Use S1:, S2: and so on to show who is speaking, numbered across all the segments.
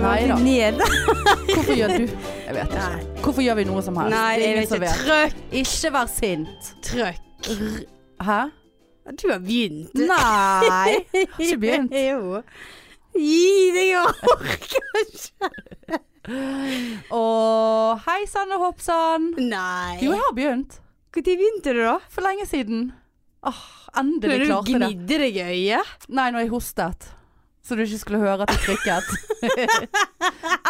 S1: ned.
S2: Hvorfor gjør du Jeg vet ikke.
S1: Nei.
S2: Hvorfor gjør vi noe som
S3: Altså,
S2: helst?
S1: Nei,
S2: Det
S1: jeg
S2: er ingen
S1: vet
S2: som
S1: ikke.
S2: vet.
S1: Trøkk! Ikke vær sint.
S3: Trøkk.
S2: Hæ?
S3: Du har begynt.
S1: Nei.
S2: Ikke begynt.
S1: Jo. Gi deg, jeg orker ikke.
S2: Og hei sann og hopp sann.
S3: Nei.
S2: Jo, jeg har begynt.
S1: Når begynte du, da?
S2: For lenge siden. Åh,
S3: Når
S2: endelig
S3: du
S2: klarte jeg det.
S3: gnidde deg i øyet.
S2: Nei, når jeg hostet. Så du ikke skulle høre at jeg trykket.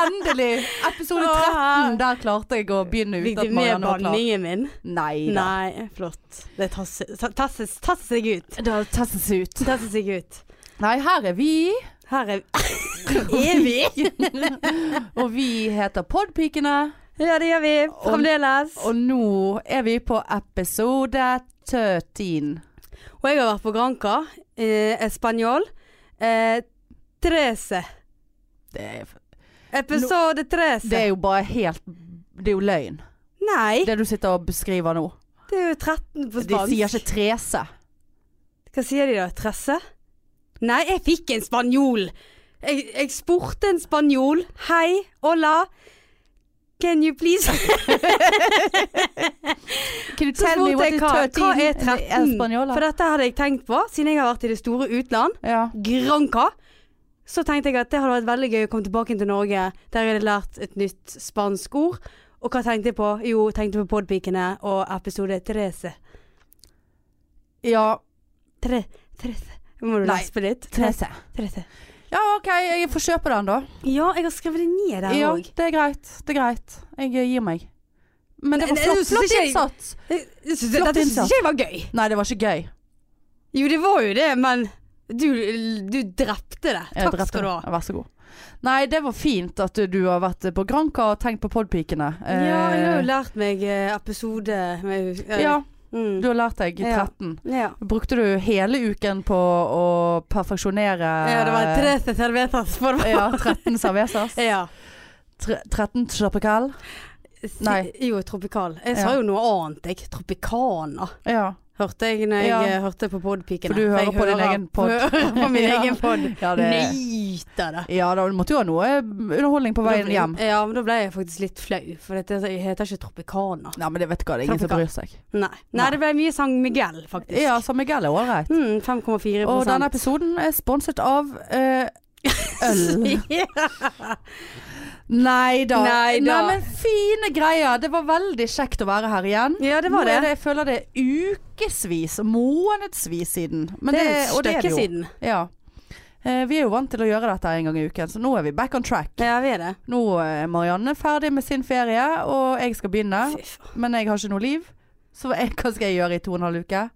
S2: endelig! Episode
S3: Åh.
S2: 13. Der klarte jeg å begynne
S3: Fikk
S2: uten at
S3: du med
S2: Marianne var klar.
S3: banningen min?
S2: Nei da.
S3: Nei, flott. Det tasses, ta- tasses, tasses seg ut.
S2: Da testes det ut.
S3: Tasses seg ut.
S2: Nei, her er vi.
S3: Her er, er vi.
S2: Og vi heter Podpikene.
S1: Ja, det gjør vi. Fremdeles.
S2: Og nå er vi på episode 13.
S3: Og jeg har vært på Granca. Eh, Español. Eh, Trese.
S2: Det er,
S3: Episode
S2: det
S3: Trese.
S2: er jo bare helt Det er jo løgn.
S3: Nei,
S2: Det du sitter og beskriver nå.
S3: det er jo 13
S2: De
S3: på
S2: sier
S3: spansk.
S2: ikke Trese.
S3: Hva sier de da? Tresse? Nei, jeg fikk en spanjol. Jeg, jeg spurte en spanjol. Hei, hola. Can you please
S2: Can you
S3: Så
S2: tell me
S3: spurte
S2: what
S3: jeg
S2: is
S3: hva, eh,
S2: 13
S3: hva er
S2: in
S3: 13?
S2: Española?
S3: For dette hadde jeg tenkt på siden jeg har vært i det store utland.
S2: Ja.
S3: Granca. Så tenkte jeg at det hadde vært veldig gøy å komme tilbake til Norge. Der jeg hadde lært et nytt spansk ord. Og hva tenkte jeg på? Jo, tenkte på Podpikene og episode Therese.
S2: ja.
S3: Tre, Therese. Må du
S2: Nei.
S3: lespe litt?
S2: Trese.
S3: Therese.
S2: Ja, OK, jeg får kjøpe den, da.
S3: Ja, jeg har skrevet det ned der
S2: Ja,
S3: òg.
S2: det er greit. Det er greit. Jeg eh, gir meg. Men det
S3: Nei,
S2: var
S3: nei,
S2: flott,
S3: jeg synes
S2: flott
S3: ikke jeg-
S2: innsats.
S3: Dette syns
S2: Flott innsats.
S3: jeg var gøy.
S2: Nei, det var ikke gøy.
S3: Jo, det var jo det, men du, du drepte det.
S2: Jeg
S3: Takk
S2: drepte
S3: skal du
S2: den.
S3: ha.
S2: Vær så god. Nei, det var fint at du har vært på Granca og tenkt på podpikene.
S3: Ja, jeg har jo
S2: Eh,
S3: lært meg eh, episode med, eh,
S2: ja,
S3: Mm.
S2: du har lært deg
S3: Ja.
S2: 13.
S3: ja.
S2: Brukte du hele uken på å perfeksjonere
S3: Ja, det var Therese Servetas for meg.
S2: Eh, ja, 13 cervezas?
S3: Ja.
S2: Tre- 13 tropical?
S3: S-
S2: Nei.
S3: Jo, tropikal. Jeg sa
S2: Ja.
S3: jo noe annet, jeg. Tropicana,
S2: Ja.
S3: hørte jeg når jeg
S2: Ja.
S3: eh, hørte på podpikene.
S2: For du hører
S3: jeg
S2: på din egen pod.
S3: Hører på min
S2: Ja.
S3: egen pod.
S2: Ja, det,
S3: Nyter det.
S2: ja, da måtte jo ha noe eh, underholdning på
S3: Da
S2: veien
S3: ble-
S2: hjem.
S3: Ja, men da ble jeg faktisk litt flau, for dette jeg heter ikke Tropicana.
S2: Nei, men det vet du hva, det er ingen som
S3: Tropical.
S2: bryr seg.
S3: Nei. Nei,
S2: Nei.
S3: det ble mye San Miguel, faktisk.
S2: Ja, San Miguel er ålreit.
S3: Mm, 5,4
S2: Og denne episoden er sponset av eh, øl. Nei da.
S3: Nei da.
S2: men fine greier. Det var veldig kjekt å være her igjen.
S3: Ja, det var
S2: Nå er
S3: det.
S2: Jeg føler det er ukevis, månedsvis siden. Men
S3: Det er et
S2: og det
S3: stykke
S2: jo.
S3: siden.
S2: Ja. Eh, vi er jo vant til å gjøre dette en gang i uken, så nå er vi back on track.
S3: Ja, vi er det.
S2: Nå er Marianne ferdig med sin ferie, og jeg skal begynne.
S3: Fy faen.
S2: Men jeg har ikke noe liv, så jeg, hva skal jeg gjøre i to og en halv uke?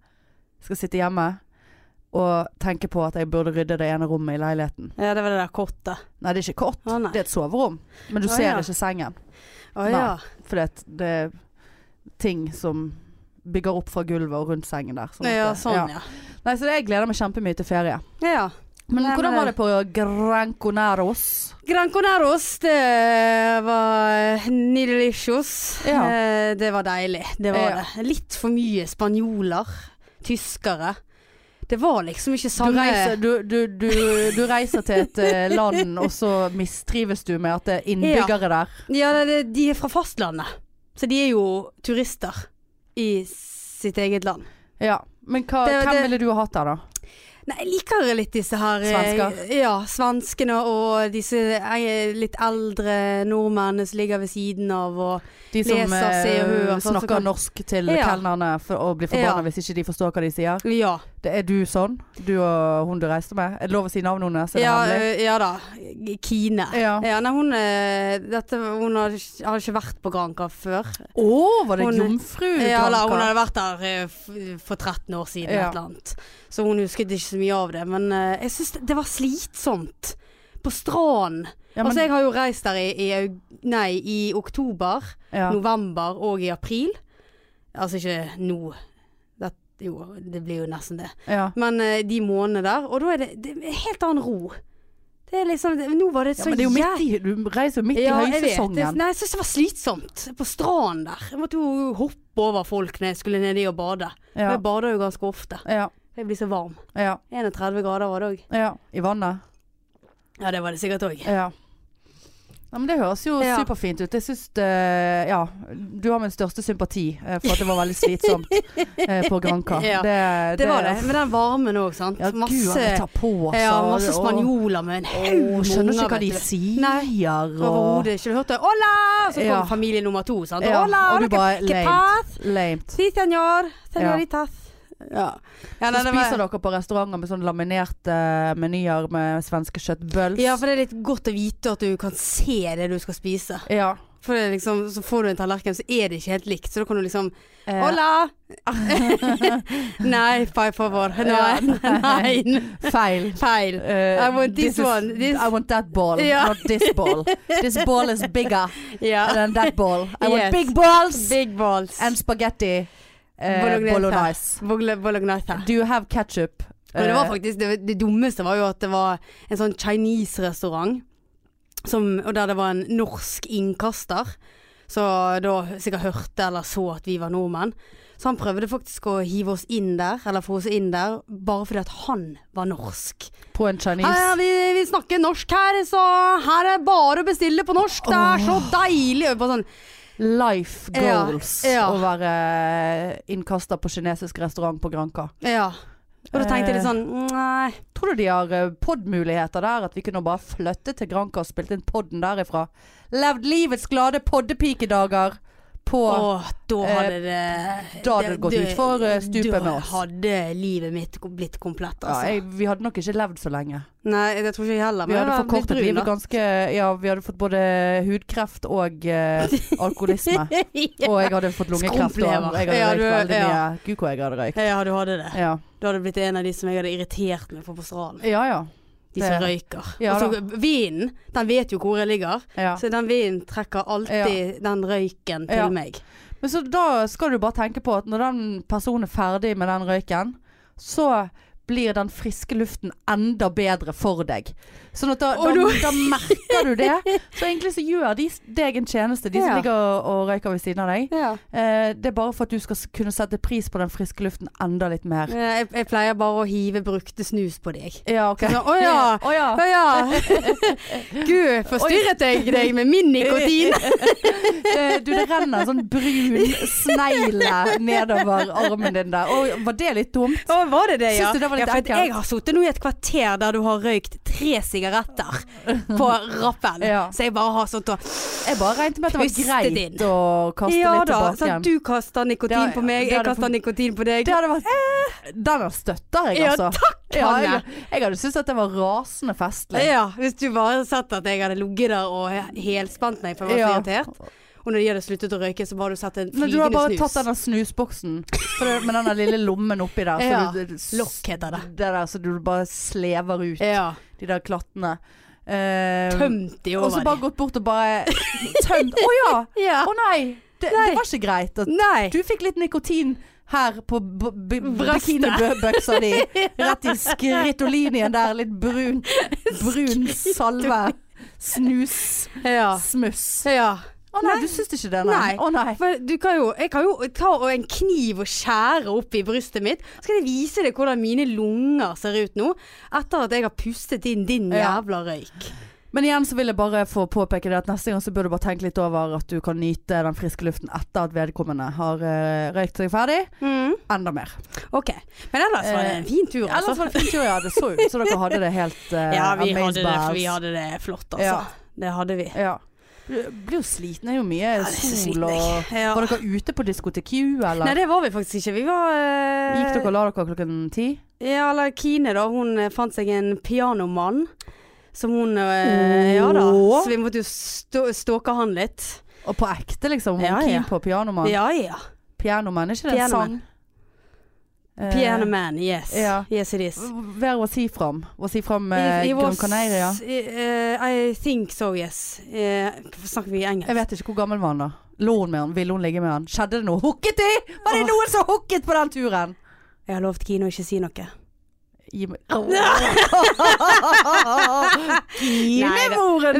S2: Skal sitte hjemme og tenke på at jeg burde rydde det ene rommet i leiligheten.
S3: Ja, det var det der kortet.
S2: Nei, det er ikke kort.
S3: Å, nei.
S2: det er et soverom. Men du
S3: Å,
S2: ser
S3: ja.
S2: ikke sengen.
S3: Å ja.
S2: For det, det er ting som bygger opp fra gulvet og rundt sengen der. sånn at
S3: Ja,
S2: det-
S3: sånn, ja.
S2: Nei, så det, jeg gleder meg kjempemye til ferie.
S3: Ja.
S2: Men
S3: Nei, men eh,
S2: hvordan
S3: det-
S2: var det på Granconeros?
S3: Gran Coneros, det var nidelicious.
S2: Ja.
S3: Eh, Det var deilig. Det var
S2: Ja.
S3: det. Litt for mye spanjoler. Tyskere. Det var liksom ikke
S2: Du
S3: samme
S2: reiser, du, du, du, du reiser til et eh, land, og så mistrives du med at det er innbyggere der.
S3: Ja, det- det- de er fra fastlandet. Så de er jo turister i sitt eget land.
S2: Ja. Men hva,
S3: Det-
S2: hvem
S3: det-
S2: ville du ha hatt der, da?
S3: Nei, jeg liker litt disse her eh,
S2: Svensker?
S3: Ja, svenskene og disse eh, litt eldre nordmennene som ligger ved siden av og
S2: De som
S3: Leser,
S2: eh,
S3: ser, hører, sånn som
S2: snakker
S3: kan-
S2: norsk til
S3: Ja.
S2: kelnerne for, og blir forbanna
S3: Ja.
S2: hvis ikke de forstår hva de sier.
S3: Ja.
S2: Det er du sånn? Du og hun du reiste med? Er det lov å si navnet hennes? Er det
S3: Ja,
S2: hemmelig?
S3: eh, ja da. Kine.
S2: Ja.
S3: Ja, nei, hun, eh, dette, hun har, ikke- har ikke vært på Granca før.
S2: Å, var det
S3: Hun-
S2: jomfru?
S3: Ja, eller
S2: Granca?
S3: hun hadde vært der eh, f- for 13 år siden,
S2: Ja.
S3: et eller annet. Så hun husket ikke så mye av det. Men eh, jeg syns det, det var slitsomt. På stranden.
S2: ja, men,
S3: Altså, jeg har jo reist der i, i, aug- nei, i oktober,
S2: ja.
S3: november og i april. Altså ikke nå. Det, jo, det blir jo nesten det.
S2: ja.
S3: Men eh, de månedene der, og da er det, det er en helt annen ro. Det er liksom, det, nå var det
S2: Ja,
S3: så
S2: men det er jo
S3: jævlig-
S2: midt i, du reiser jo midt i
S3: jeg vet. Jeg-
S2: høysesongen.
S3: Nei, jeg syntes det var slitsomt på stranden der. Jeg måtte jo hoppe over folk når jeg skulle nedi og bade. Og
S2: Ja,
S3: Jeg bader jo ganske ofte.
S2: ja,
S3: Jeg blir så varm.
S2: ja,
S3: 31 grader var det òg.
S2: ja. I vannet.
S3: Ja, det var det sikkert òg.
S2: Ja. Nei, men det høres jo
S3: Ja.
S2: superfint ut. Jeg syns det Ja. Du har min største sympati eh, for at det var veldig slitsomt eh, på Granca.
S3: Ja,
S2: det,
S3: Det var det. Med den varmen òg, sant.
S2: Ja, gud,
S3: masse,
S2: jeg tar på, altså.
S3: ja, masse
S2: Åh.
S3: spanjoler med en
S2: Åh,
S3: haug
S2: skjønner ikke hva de
S3: vet du.
S2: sier. og
S3: Overhodet ikke. Du hørte 'hola', så kom
S2: Ja.
S3: familie nummer to. Sant?
S2: Ja,
S3: 'Hola,
S2: og du
S3: hola,
S2: bare
S3: que
S2: lame.
S3: paz?
S2: Lame.
S3: Si senor, senoritas. Ja.
S2: Så
S3: Ja, nei, det var-
S2: spiser dere på restauranter med sånn laminerte eh, menyer med svenske kjøttbøls.
S3: ja, for det er litt godt å vite at du kan se det du skal spise.
S2: Ja.
S3: For det er liksom, så får du en tallerken, så er det ikke helt likt. Så da kan du liksom
S2: Eh,
S3: Hola! nei, five favor.
S2: Ja,
S3: Nei, nei. nei.
S2: Feil.
S3: Feil.
S2: Eh,
S3: I want this
S2: is-
S3: one, this-
S2: I want that ball,
S3: Ja.
S2: not this ball. This ball is bigger
S3: Ja.
S2: than that ball. I
S3: Yes.
S2: want big balls
S3: Big balls.
S2: and spaghetti eh,
S3: Bolognese.
S2: bolognese.
S3: Bogle- Bolognese.
S2: Do you have ketchup?
S3: Men det var
S2: Eh,
S3: faktisk det, det dummeste var jo at det var en sånn Chinese restaurant som, Og der det var en norsk innkaster Så da sikkert hørte eller så at vi var nordmenn Så han prøvde faktisk å hive oss inn der Eller få oss inn der Bare fordi at han var norsk
S2: Eh, på en chinese.
S3: her, vi, vi snakker norsk her Så her er bare å bestille på norsk Det er så deilig Og bare sånn,
S2: Life
S3: Ja,
S2: goals
S3: ja.
S2: å være innkaster på kinesisk restaurant på Granca.
S3: ja Og da tenkte jeg litt sånn Nei
S2: Tror du de har podmuligheter der? At vi kunne bare flytte til Granca og spilt inn podden derifra? Levd livets glade poddepikedager på
S3: Åh, da
S2: eh,
S3: hadde det
S2: da hadde det gått ut for, eh, stupet med oss.
S3: Da hadde livet mitt gå- blitt komplett,
S2: ja,
S3: altså.
S2: jeg, Vi hadde nok ikke levd så lenge.
S3: Nei, det tror ikke jeg heller.
S2: Vi
S3: men jeg
S2: hadde
S3: var blitt
S2: forkortet
S3: brun,
S2: livet
S3: da.
S2: ganske Ja, vi hadde fått både hudkreft og eh, alkoholisme.
S3: Ja.
S2: Og jeg hadde fått lungekreft. Og
S3: Skrumplever.
S2: jeg hadde
S3: Ja,
S2: røykt
S3: du-
S2: veldig mye.
S3: ja.
S2: Gud, hvor jeg hadde røykt.
S3: ja, du hadde det.
S2: Ja
S3: Du hadde blitt en av de som jeg hadde irritert meg på på stranden.
S2: ja. ja.
S3: De som
S2: Det-
S3: røyker.
S2: Ja
S3: og så vinen, den vet jo hvor jeg ligger.
S2: ja.
S3: Så den vinen trekker alltid den røyken til
S2: Ja.
S3: meg.
S2: Men så da skal du bare tenke på at når den personen er ferdig med den røyken, så blir den friske luften enda bedre for deg. Sånn at da, da,
S3: Og du-
S2: da merker du det. Så egentlig så gjør de s- deg en tjeneste, de
S3: Ja.
S2: som ligger og, og røyker ved siden av deg.
S3: Ja.
S2: Eh, det er bare for at du skal s- kunne sette pris på den friske luften enda litt mer.
S3: Jeg, jeg pleier bare å hive brukte snus på deg.
S2: Ja, ok.
S3: Sånn, Å ja!
S2: Å ja.
S3: Å ja. Gud, forstyrret jeg deg med min nikotin?
S2: Eh, Du, det renner en sånn brun snegle nedover armen din der. Å, var det litt dumt?
S3: Å, var det det, ja?
S2: Syns du det var litt
S3: ja, for at
S2: ekkelt?
S3: Jeg har sittet nå i et kvarter der du har røykt tre sigaretter på rappen.
S2: Ja.
S3: Så jeg bare har sånn sånt og
S2: Jeg bare regnet med at det var
S3: Pustet
S2: greit
S3: inn.
S2: å kaste
S3: Ja
S2: litt
S3: da,
S2: tilbake
S3: sånn,
S2: igjen.
S3: du kaster nikotin
S2: Det har-
S3: på meg,
S2: det
S3: jeg
S2: hadde
S3: kaster
S2: fått-
S3: nikotin på deg.
S2: Det hadde vært Den er støtter jeg,
S3: Ja,
S2: altså.
S3: takk,
S2: Ja,
S3: Hanne!
S2: jeg, jeg hadde syntes at det var rasende festlig.
S3: Ja, hvis du bare hadde sett at jeg hadde ligget der og he- helspent meg, for jeg var
S2: Ja.
S3: så irritert. Og når de hadde sluttet å røyke, så bare hadde du sett en
S2: Men du har
S3: flygende
S2: bare
S3: snus.
S2: tatt denne snusboksen for det- med den lille lommen oppi der. Så
S3: Ja.
S2: du, s-
S3: Lokk heter det.
S2: Det der, så du bare slever ut
S3: Ja.
S2: de der klattene. Eh,
S3: Tømt de
S2: og så
S3: over
S2: bare
S3: de.
S2: gått bort og bare tømt Å ja!
S3: Ja.
S2: Å nei! Det,
S3: Nei.
S2: det var ikke greit. At
S3: Nei.
S2: du fikk litt nikotin her på b- b-
S3: Brøstet.
S2: bikinibøksa di. Rett i skritolinien der. Litt brun, brun salve. Snus.
S3: Ja.
S2: Smuss.
S3: ja.
S2: Å nei, du syns ikke det? Nei.
S3: Ah. Nei.
S2: Å nei.
S3: For du kan jo, jeg kan jo ta og en kniv og skjære opp i brystet mitt. Så skal jeg vise deg hvordan mine lunger ser ut nå, etter at jeg har pustet inn din
S2: Ja.
S3: jævla røyk.
S2: Men igjen så vil jeg bare få påpeke det at neste gang så bør du bare tenke litt over at du kan nyte den friske luften etter at vedkommende har eh, røykt seg ferdig. Enda mer.
S3: Mm. Ok. Men ellers var det en fin tur, altså.
S2: Eh, Ellers var det fint, jo, ja. Det så ut som dere hadde det helt uh,
S3: ja, vi hadde, det, vi hadde det flott, altså.
S2: Ja.
S3: Det hadde vi.
S2: Ja. Du Blir jo sliten, det er jo mye
S3: det er så
S2: sol
S3: sliten, jeg.
S2: og
S3: Ja.
S2: Var dere ute på diskotek Q,
S3: Nei,
S2: eller?
S3: det var vi faktisk ikke. Vi var eh,
S2: Gikk dere og la dere klokken ti?
S3: Ja, eller Kine, da. Hun eh, fant seg en pianomann. Som hun eh, Ja da.
S2: Åh.
S3: Så vi måtte jo stå- stalke han litt.
S2: Og på ekte, liksom? Ja,
S3: Ja, ja.
S2: Keen på pianomann?
S3: Ja ja.
S2: Pianoman, er ikke det en sang? Eh,
S3: Pianoman. Pianoman, yes.
S2: ja.
S3: Yes it is.
S2: Where was he from? Was he from eh,
S3: He- he
S2: Gran
S3: was-
S2: Canaria?
S3: eh, I think so, yes. Eh, hvorfor snakker vi engelsk?
S2: Jeg vet ikke hvor gammel var han da. Lå hun med han? Ville hun ligge med han? Skjedde det noe? Hooket de? Var det
S3: Åh.
S2: noen som hooket på den turen?
S3: Jeg har lovt Kine å ikke si noe.
S2: Gi meg
S3: Klinemoren,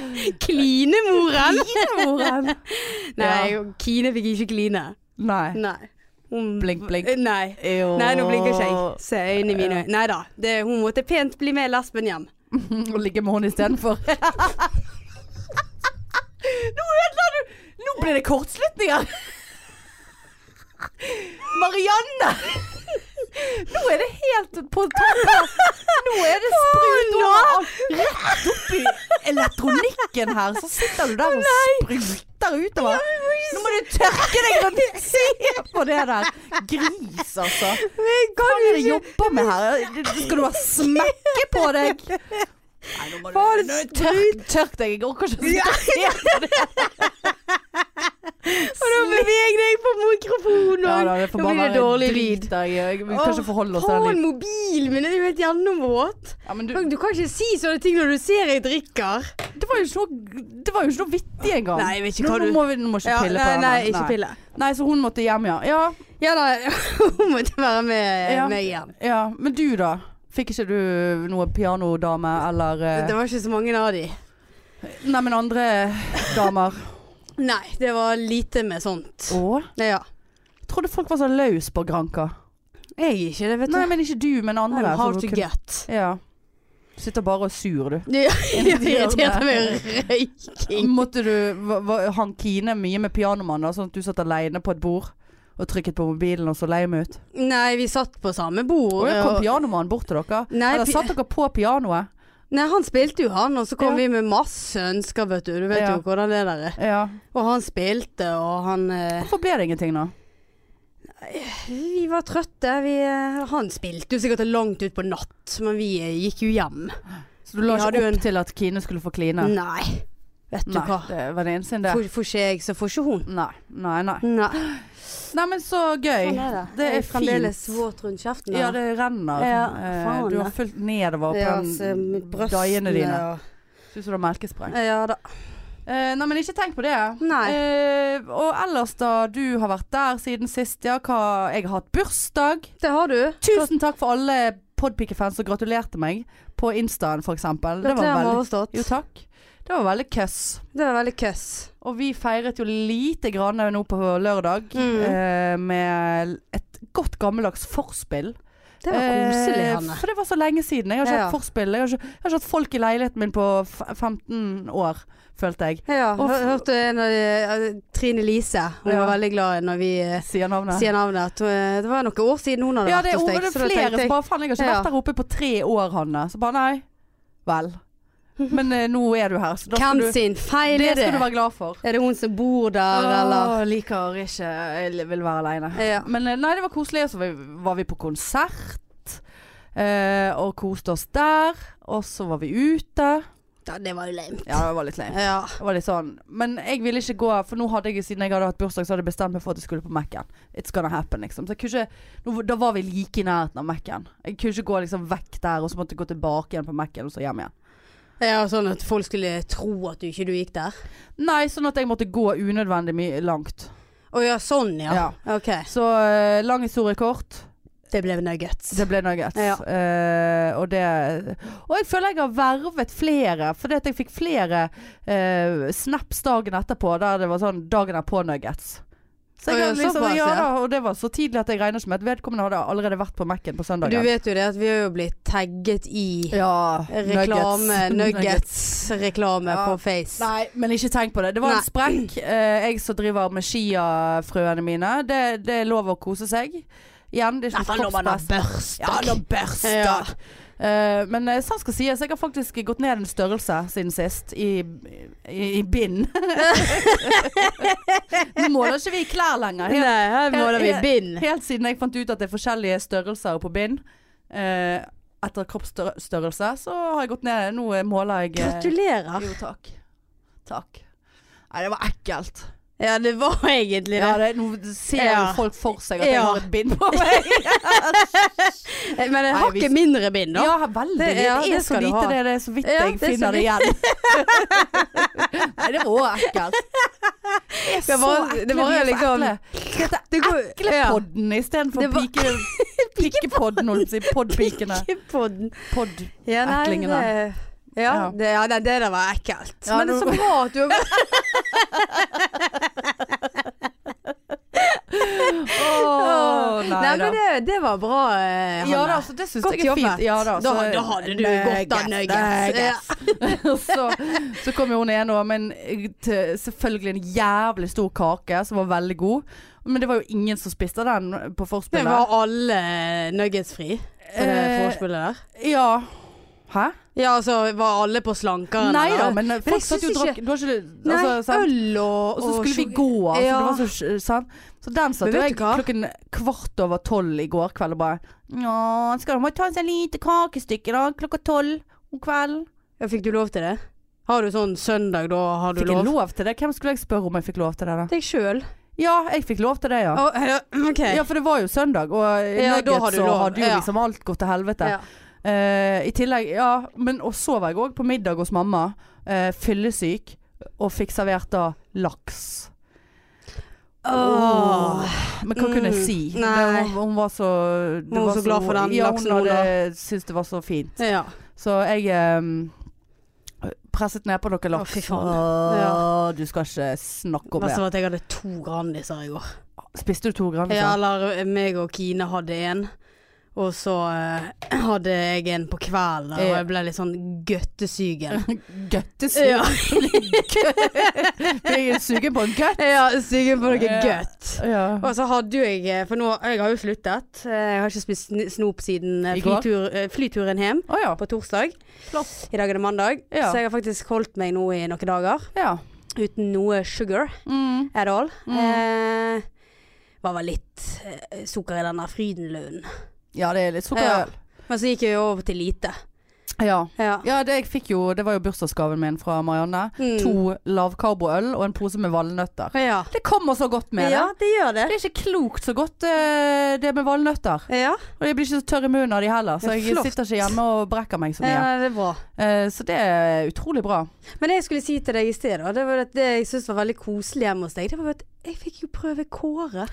S3: Klinemoren!
S2: Klinemoren.
S3: Nei, Kine fikk ikke kline.
S2: Nei.
S3: Nei. Hun- Eh,
S2: Blink, blink.
S3: Nei.
S2: Jo.
S3: Nei, nå blinker ikke jeg. Se øynene mine. Nei da. Det- Hun måtte pent bli med lesben hjem.
S2: Og ligge med henne istedenfor. Nå ødela du Nå ble det kortslutninger! Marianne! Nå er det helt på toppen. Nå er det sprut over. Rett oppi elektronikken her, så sitter du der og spruter utover. Nå må du tørke deg og se på det der. Gris, altså. Hva er det du jobber med her? Skal du ha smekke på deg? Nei, nå må
S1: Faen,
S2: nå- tørk, tørk deg. Jeg orker ikke å sitte og se på det.
S1: Og nå beveger deg på mikrofonen.
S2: Ja, da, det
S1: nå blir det
S2: forbanna
S1: dårlig
S2: drit
S1: lyd.
S2: der, jeg- Vi kan ikke forholde oss til den
S3: Faen,
S2: lyden.
S3: mobilen min er jo helt gjennomvåt.
S2: Ja, men du,
S3: Du kan ikke si sånne ting når du ser jeg drikker.
S2: det var jo ikke noe, det var jo ikke noe vittig engang.
S3: Nei, jeg vet ikke
S2: Nå-
S3: hva du-
S2: Nå må vi nå må ikke pille
S3: nei,
S2: på den.
S3: eh, nei,
S2: her.
S3: ikke pille.
S2: Nei, så hun måtte hjem, ja. Ja,
S3: Ja da, hun måtte være med
S2: Ja.
S3: meg hjem.
S2: ja. Men du da? Fikk ikke du noe pianodame eller eh,
S3: Det var ikke så mange av de.
S2: Nei, men andre damer.
S3: Nei, det var lite med sånt.
S2: Å?
S3: Ja.
S2: Jeg trodde folk var så løs på Granka.
S3: Jeg er ikke det, vet
S2: Nei, men ikke du, men
S3: Nei,
S2: andre. så
S3: hard
S2: du
S3: to
S2: kunne-
S3: get.
S2: Ja. Sitter bare og er sur, du.
S3: Ja, ja, det irriterte
S2: hjørnet.
S3: meg røyking.
S2: Måtte du hva- hva- Han kine mye med pianomannen, da, sånn at du satt alene på et bord og trykket på mobilen og så lei meg ut?
S3: Nei, vi satt på samme
S2: Og
S3: bord.
S2: jeg kom
S3: og-
S2: pianomannen bort til dere?
S3: Nei,
S2: Eller
S3: pi-
S2: satt dere på pianoet?
S3: Nei, han spilte jo han, og så kom
S2: Ja.
S3: vi med masse ønsker, vet du. Du vet
S2: Ja.
S3: jo hvordan det der er.
S2: Ja.
S3: Og han spilte, og han eh,
S2: Hvorfor ble det ingenting, da?
S3: Vi var trøtte. Vi, eh, han spilte jo sikkert langt ut på natt, men vi eh, gikk jo hjem.
S2: Så du la
S3: Vi hadde
S2: ikke
S3: jo
S2: opp
S3: en-
S2: til at Kine skulle få kline?
S3: Nei. Vet du hva.
S2: det var det eneste sin, det.
S3: Får får ikke jeg, så får ikke hun.
S2: Nei, nei, nei.
S3: Nei.
S2: Nei, men så gøy.
S3: Sånn
S2: Det er
S3: fremdeles
S2: fint.
S3: våt rundt kjeften.
S2: Ja, det renner.
S3: Ja,
S2: Eh,
S3: faen,
S2: du har
S3: ja.
S2: fulgt nedover på
S3: ja, altså, så
S2: den daiene
S3: brøstene
S2: dine.
S3: og
S2: Syns du du har melkespreng?
S3: Ja da.
S2: Eh, nei, men ikke tenk på det.
S3: Nei.
S2: Eh, og ellers, da. Du har vært der siden sist. Ja, hva Jeg har hatt bursdag.
S3: Det har du.
S2: Tusen takk for alle Podpike-fans som gratulerte meg på Instaen, for eksempel. Det var
S3: Gratulerer med
S2: veldig
S3: overstått.
S2: Jo, takk. Det var veldig køss.
S3: Det var veldig køss.
S2: Og vi feiret jo lite grann nå på lørdag
S3: Mm.
S2: eh, med et godt gammeldags forspill.
S3: Det var koselig,
S2: Eh,
S3: Hanne.
S2: For det var så lenge siden. Jeg har ikke
S3: Ja.
S2: hatt forspill. Jeg har ikke, jeg har ikke hatt folk i leiligheten min på f- 15 år, følte jeg.
S3: Ja,
S2: og
S3: hør-
S2: f-
S3: hørte en av de, eh, Trine Lise. Hun
S2: Ja.
S3: var veldig glad når vi eh,
S2: Sier navnet.
S3: sier navnet. At, eh, Det var noen år siden hun hadde
S2: ja, det er,
S3: vært hos
S2: over-
S3: deg.
S2: det er
S3: så da
S2: flere
S3: tenkte
S2: som
S3: jeg-
S2: bare Faen, jeg har ikke
S3: Ja.
S2: vært der oppe på tre år, Hanne. Så bare nei. Vel. Men eh, nå er du her, så da skal
S3: Hvem
S2: du,
S3: sin feil
S2: det
S3: er det?
S2: skal du være glad for.
S3: Er det hun som bor der, eller?
S2: Åh, liker ikke Jeg vil være aleine.
S3: Ja.
S2: Men eh, nei, det var koselig. Så var- var vi på konsert eh, og koste oss der. Og så var vi ute.
S3: Da, det var jo lame.
S2: Ja, det var litt lame.
S3: Ja.
S2: Det var litt sånn. Men jeg ville ikke gå, for nå hadde jeg siden jeg hadde hatt bursdag, så hadde jeg bestemt meg for at jeg skulle på Mac-en. It's gonna happen, liksom. Så jeg kunne ikke, nå, da var vi like i nærheten av Mac-en. Jeg kunne ikke gå liksom vekk der, og så måtte jeg gå tilbake igjen på Mac-en, og så hjem igjen.
S3: ja, sånn at folk skulle tro at du ikke du gikk der.
S2: Nei, sånn at jeg måtte gå unødvendig mye langt.
S3: Å ja, sånn ja.
S2: Ja.
S3: Ok.
S2: Så eh, lang historie kort.
S3: Det ble nuggets.
S2: Det ble nuggets.
S3: Ja.
S2: Eh, og, det, og jeg føler jeg har vervet flere, fordi at jeg fikk flere eh, snaps dagen etterpå der det var sånn 'dagen er på nuggets'. Så jeg
S3: Å ja,
S2: hadde liksom,
S3: såpass,
S2: ja,
S3: ja.
S2: da, og det var så tidlig at jeg regner ikke med at vedkommende hadde allerede vært på Mac-en på
S3: Du
S2: søndagen.
S3: vet jo det at vi har jo blitt tagget i
S2: Ja,
S3: reklame,
S2: Nuggets.
S3: nuggets-reklame
S2: Ja.
S3: på Face.
S2: Nei, men ikke tenk på det. Det var
S3: Nei.
S2: en sprekk. Eh, jeg som driver med chiafrøene mine, det, det er lov å kose seg. Igjen, det er ikke noe kroppspress.
S3: børster.
S2: Ja, da børster.
S3: Ja.
S2: Eh, men eh, sant skal sies, jeg har faktisk gått ned en størrelse siden sist. I, i, i bind. Nå måler ikke vi i klær lenger. Helt,
S3: Nei, her måler vi
S2: Helt-
S3: bind.
S2: helt siden jeg fant ut at det er forskjellige størrelser på bind. eh, etter kroppsstørrelse, så har jeg gått ned. Nå eh, måler jeg eh,
S3: Gratulerer.
S2: Jo, takk. Takk. Nei, det var ekkelt.
S3: Ja, det var egentlig det.
S2: Ja, det, nå ser jo
S3: Ja.
S2: folk for seg at jeg
S3: Ja.
S2: har et bind på meg.
S3: Men det er
S2: Nei, vi-
S3: hakket mindre bind, da.
S2: Ja, veldig.
S3: Det-
S2: Det,
S3: ja,
S2: er
S3: det
S2: så
S3: skal du
S2: lite
S3: ha.
S2: det, det er så vidt
S3: Ja,
S2: jeg
S3: det er så
S2: finner det igjen. Nei, det var ekkelt. Det er
S3: Det
S2: så
S3: var-
S2: ekle.
S3: det var
S2: vi er så
S3: liksom-
S2: ekle. Skal hete
S3: Det går-
S2: Eklepodden istedenfor
S3: Det var-
S2: pike, pikepodden, holdt jeg på å si. Podpikene.
S3: Pikkepodden.
S2: Podd.
S3: Ja, nei,
S2: Eklingene.
S3: det-
S2: Ja.
S3: Ja, det, ja, nei, det der var ekkelt.
S2: Ja,
S3: Men det er så
S2: nå-
S3: bra at du har
S2: Å, nei
S3: Nei,
S2: da.
S3: men det, det var bra, eh, Hanne.
S2: Ja da, så det syns
S3: Godt
S2: jeg er
S3: jobbet.
S2: fint. Ja, da, altså-
S3: Da- da hadde du godt av nuggets.
S2: Ja. så, så kom jo hun ene òg med en eh, til- selvfølgelig en jævlig stor kake som var veldig god. Men det var jo ingen som spiste den på
S3: Det
S2: forspillet.
S3: var alle nuggetsfri på det
S2: Eh,
S3: vorspielet der.
S2: Ja. Hæ?
S3: Ja, altså var alle på slankeren?
S2: Nei da,
S3: eller?
S2: men eh,
S3: jeg
S2: folk satt jo
S3: syns
S2: og drakk Du har ikke
S3: Nei,
S2: altså, sant?
S3: øl og
S2: Og så
S3: og
S2: skulle vi
S3: sjo-
S2: gå, altså.
S3: Ja.
S2: Det var så sj- sant? Så den satt
S3: Men
S2: jo
S3: vet
S2: jeg
S3: du hva?
S2: klokken kvart over tolv i går kveld og bare Ja, skal man ta seg lite kakestykke da, klokka tolv om kvelden?
S3: Ja, Fikk du lov til det? Har du sånn søndag, da har du
S2: Fikk jeg
S3: lov?
S2: lov til det? Hvem skulle jeg spørre om jeg fikk lov til det, da?
S3: Deg sjøl.
S2: Ja, jeg fikk lov til det, ja.
S3: OK.
S2: Ja, for det var jo søndag, og
S3: da
S2: nuggets
S3: har du
S2: og
S3: lov.
S2: hadde jo
S3: Ja.
S2: liksom alt gått til helvete.
S3: Ja.
S2: Eh, I tillegg, ja, men og så var jeg òg på middag hos mamma, eh, fyllesyk, og fikk servert da laks. Oh.
S3: Åh.
S2: Men hva kunne jeg
S3: Mm,
S2: si? Det,
S3: nei.
S2: hun, hun var så det
S3: Hun var så glad for den
S2: ja,
S3: laksen
S2: Hun
S3: hun
S2: hadde syntes det var så fint.
S3: ja.
S2: Så jeg ehm, presset ned på noe laks.
S3: fy faen.
S2: Åh,
S3: Ja.
S2: Du skal ikke snakke om
S3: Verst
S2: det.
S3: var at jeg hadde to Grandiser i går.
S2: Spiste du to gram?
S3: Ja,
S2: liksom?
S3: eller eh, meg og Kine hadde en. Og så eh, hadde jeg en på kvelden, og
S2: Ja.
S3: jeg ble litt sånn gøttesygen.
S2: Gøttesug.
S3: ja,
S2: Jeg er sugen på en gøtt.
S3: ja sygen på noe
S2: Ja.
S3: gøtt. Og så hadde jo jeg eh, For nå, jeg har jo sluttet. Eh, Jeg har ikke spist sn- snop siden eh,
S2: I går?
S3: flytur, eh, flyturen hjem
S2: Å ja.
S3: på torsdag.
S2: Flott.
S3: I dag er det mandag.
S2: Ja.
S3: Så jeg har faktisk holdt meg nå i noen dager.
S2: Ja.
S3: Uten noe sugar
S2: Mm.
S3: at all.
S2: Mm.
S3: Eh, var vel litt eh, sukker i den der frydenlønnen.
S2: ja, det er litt sukkerøl.
S3: Men så gikk jeg jo over til lite.
S2: Ja.
S3: Ja.
S2: ja det, jeg fikk jo, det var jo bursdagsgaven min fra Marianne.
S3: Mm.
S2: To lavkarboøl og en pose med valnøtter.
S3: Ja.
S2: Det kommer så godt med
S3: ja,
S2: det.
S3: det gjør det.
S2: Det er ikke klokt så godt eh, det med valnøtter.
S3: Ja,
S2: Og jeg blir ikke så tørr i munnen av de heller, så
S3: Det er
S2: jeg
S3: flott.
S2: sitter ikke hjemme og brekker meg så
S3: ja
S2: mye.
S3: det er bra.
S2: Eh, så det er utrolig bra.
S3: Men det jeg skulle si til deg i sted, da, det var at det jeg syntes var veldig koselig hjemme hos deg, det var at jeg fikk jo prøve Kåre.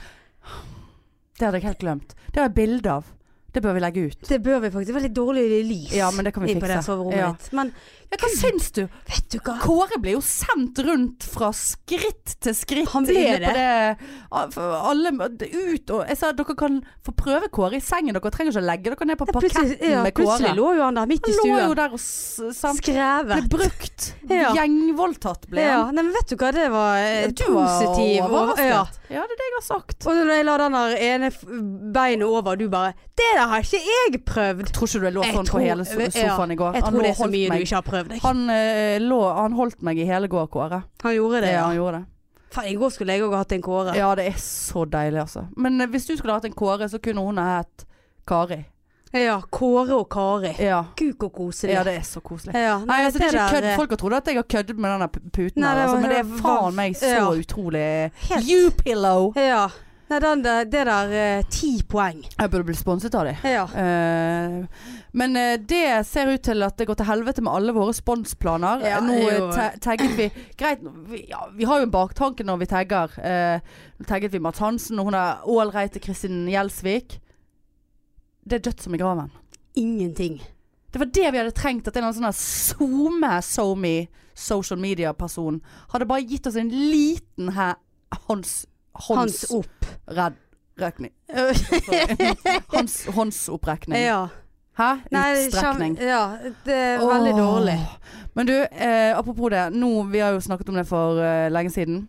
S2: Det hadde jeg helt glemt. Det har jeg bilde av. Det bør vi legge ut.
S3: Det bør vi faktisk. Det var litt dårlig lys
S2: Ja, men det kan vi
S3: inn på det
S2: fikse.
S3: soverommet
S2: Ja.
S3: ditt. Men
S2: Ja, hva syns du?
S3: vet du hva?
S2: Kåre ble jo sendt rundt fra skritt til skritt.
S3: Han ble
S2: inne på
S3: det.
S2: det. For Alle ut og Jeg sa dere kan få prøve Kåre i sengen. Dere trenger ikke å legge dere ned på parketten
S3: plutselig, ja,
S2: med Kåre.
S3: plutselig lå jo han der midt i
S2: Han lå jo
S3: stuen.
S2: der og s- sant? ble
S3: Skrevet.
S2: brukt.
S3: Ja.
S2: Gjengvoldtatt ble
S3: Ja,
S2: han.
S3: nei, men vet du hva, det var eh,
S2: Du var
S3: positiv.
S2: overrasket.
S3: og- ja.
S2: ja, det er det jeg har sagt.
S3: Og når jeg la den der ene f- beinet over, og du bare 'Det der har ikke jeg prøvd'.
S2: Tror ikke du jeg lå
S3: Jeg
S2: sånn på
S3: tror-
S2: hele so-
S3: ja,
S2: sofaen i går.
S3: Jeg
S2: Han
S3: tror
S2: lå og
S3: det er så
S2: holdt
S3: mye du
S2: meg.
S3: ikke har prøvd. Jeg.
S2: Han, eh, lå, han holdt meg i hele går, Kåre.
S3: Han gjorde det,
S2: Ja,
S3: ja.
S2: han gjorde det.
S3: Faen, i går skulle jeg òg hatt en Kåre.
S2: Ja, det er så deilig, altså. Men eh, hvis du skulle hatt en Kåre, så kunne hun ha hett Kari.
S3: Ja, Kåre og Kari.
S2: Ja.
S3: Guk og koselig.
S2: ja, det er så koselig.
S3: Ja,
S2: Nei, altså, det er ikke kødd.
S3: der, eh,
S2: Folk har trodd at jeg har køddet med den der pu- puten,
S3: Nei,
S2: her,
S3: det
S2: altså,
S3: var-
S2: men det er
S3: det var-
S2: faen meg så
S3: ja.
S2: utrolig
S3: Helt.
S2: You pillow!
S3: Ja. Nei, den der, det der eh, ti poeng.
S2: Jeg burde blitt sponset av dem.
S3: Ja.
S2: men eh, det ser ut til at det går til helvete med alle våre sponsplaner.
S3: Ja,
S2: Nå eh,
S3: jo.
S2: ta- tagget vi Greit, vi, ja, vi har jo en baktanke når vi tagger. Eh, Nå tagget vi Mads Hansen, og hun er ålreit til Kristin Gjelsvik. Det er dødt som i graven.
S3: Ingenting.
S2: Det var det vi hadde trengt. At en eller annen sånn her SoMe, SoMe, social media-person hadde bare gitt oss en liten her hånds...
S3: Hans
S2: Hånds...
S3: opp.
S2: Redd. Rekning. Hånds, håndsopprekning.
S3: ja.
S2: Hæ?
S3: Nei,
S2: Utstrekning.
S3: kjem- ja, det er veldig
S2: Åh.
S3: dårlig.
S2: Eh, Men du, eh, apropos det. Nå, vi har jo snakket om det for eh, lenge siden.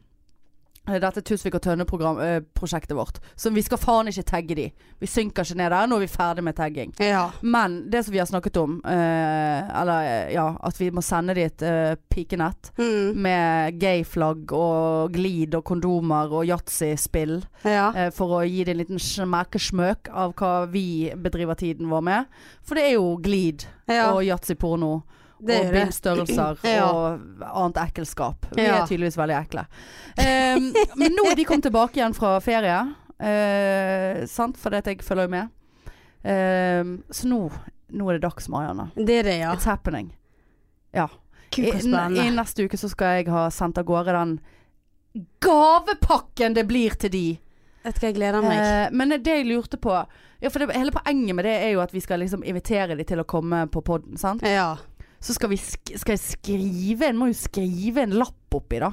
S2: Eh, Dette Tusvik og Tønne-prosjektet vårt. Så vi skal faen ikke tagge de. Vi synker ikke ned der. Nå er vi ferdig med tagging.
S3: Ja.
S2: Men det som vi har snakket om, eh, eller eh, ja, at vi må sende de et eh, pikenett
S3: Mm.
S2: med gayflagg og glid og kondomer og yatzyspill
S3: ja.
S2: eh, for å gi det en liten smekkesmøk av hva vi bedriver tiden vår med. For det er jo glid
S3: Ja.
S2: og yatzyporno
S3: Det
S2: og
S3: er det.
S2: bindstørrelser
S3: Ja.
S2: og annet ekkelskap. Vi
S3: Ja.
S2: er tydeligvis veldig ekle. Ehm, men nå de kom tilbake igjen fra ferie, eh, sant, fordi at jeg følger jo med. Ehm, så nå, nå er det dags, Marianne.
S3: Det er det, ja.
S2: It's happening. I,
S3: Kuk og
S2: I
S3: spennende.
S2: neste uke så skal jeg ha sendt av gårde den gavepakken det blir til de.
S3: Vet du hva jeg gleder meg?
S2: Eh, men det jeg lurte på ja, for det, Hele poenget med det er jo at vi skal liksom invitere de til å komme på podden, sant?
S3: Ja.
S2: Så skal, vi sk skal jeg skrive En må jo skrive en lapp oppi, da.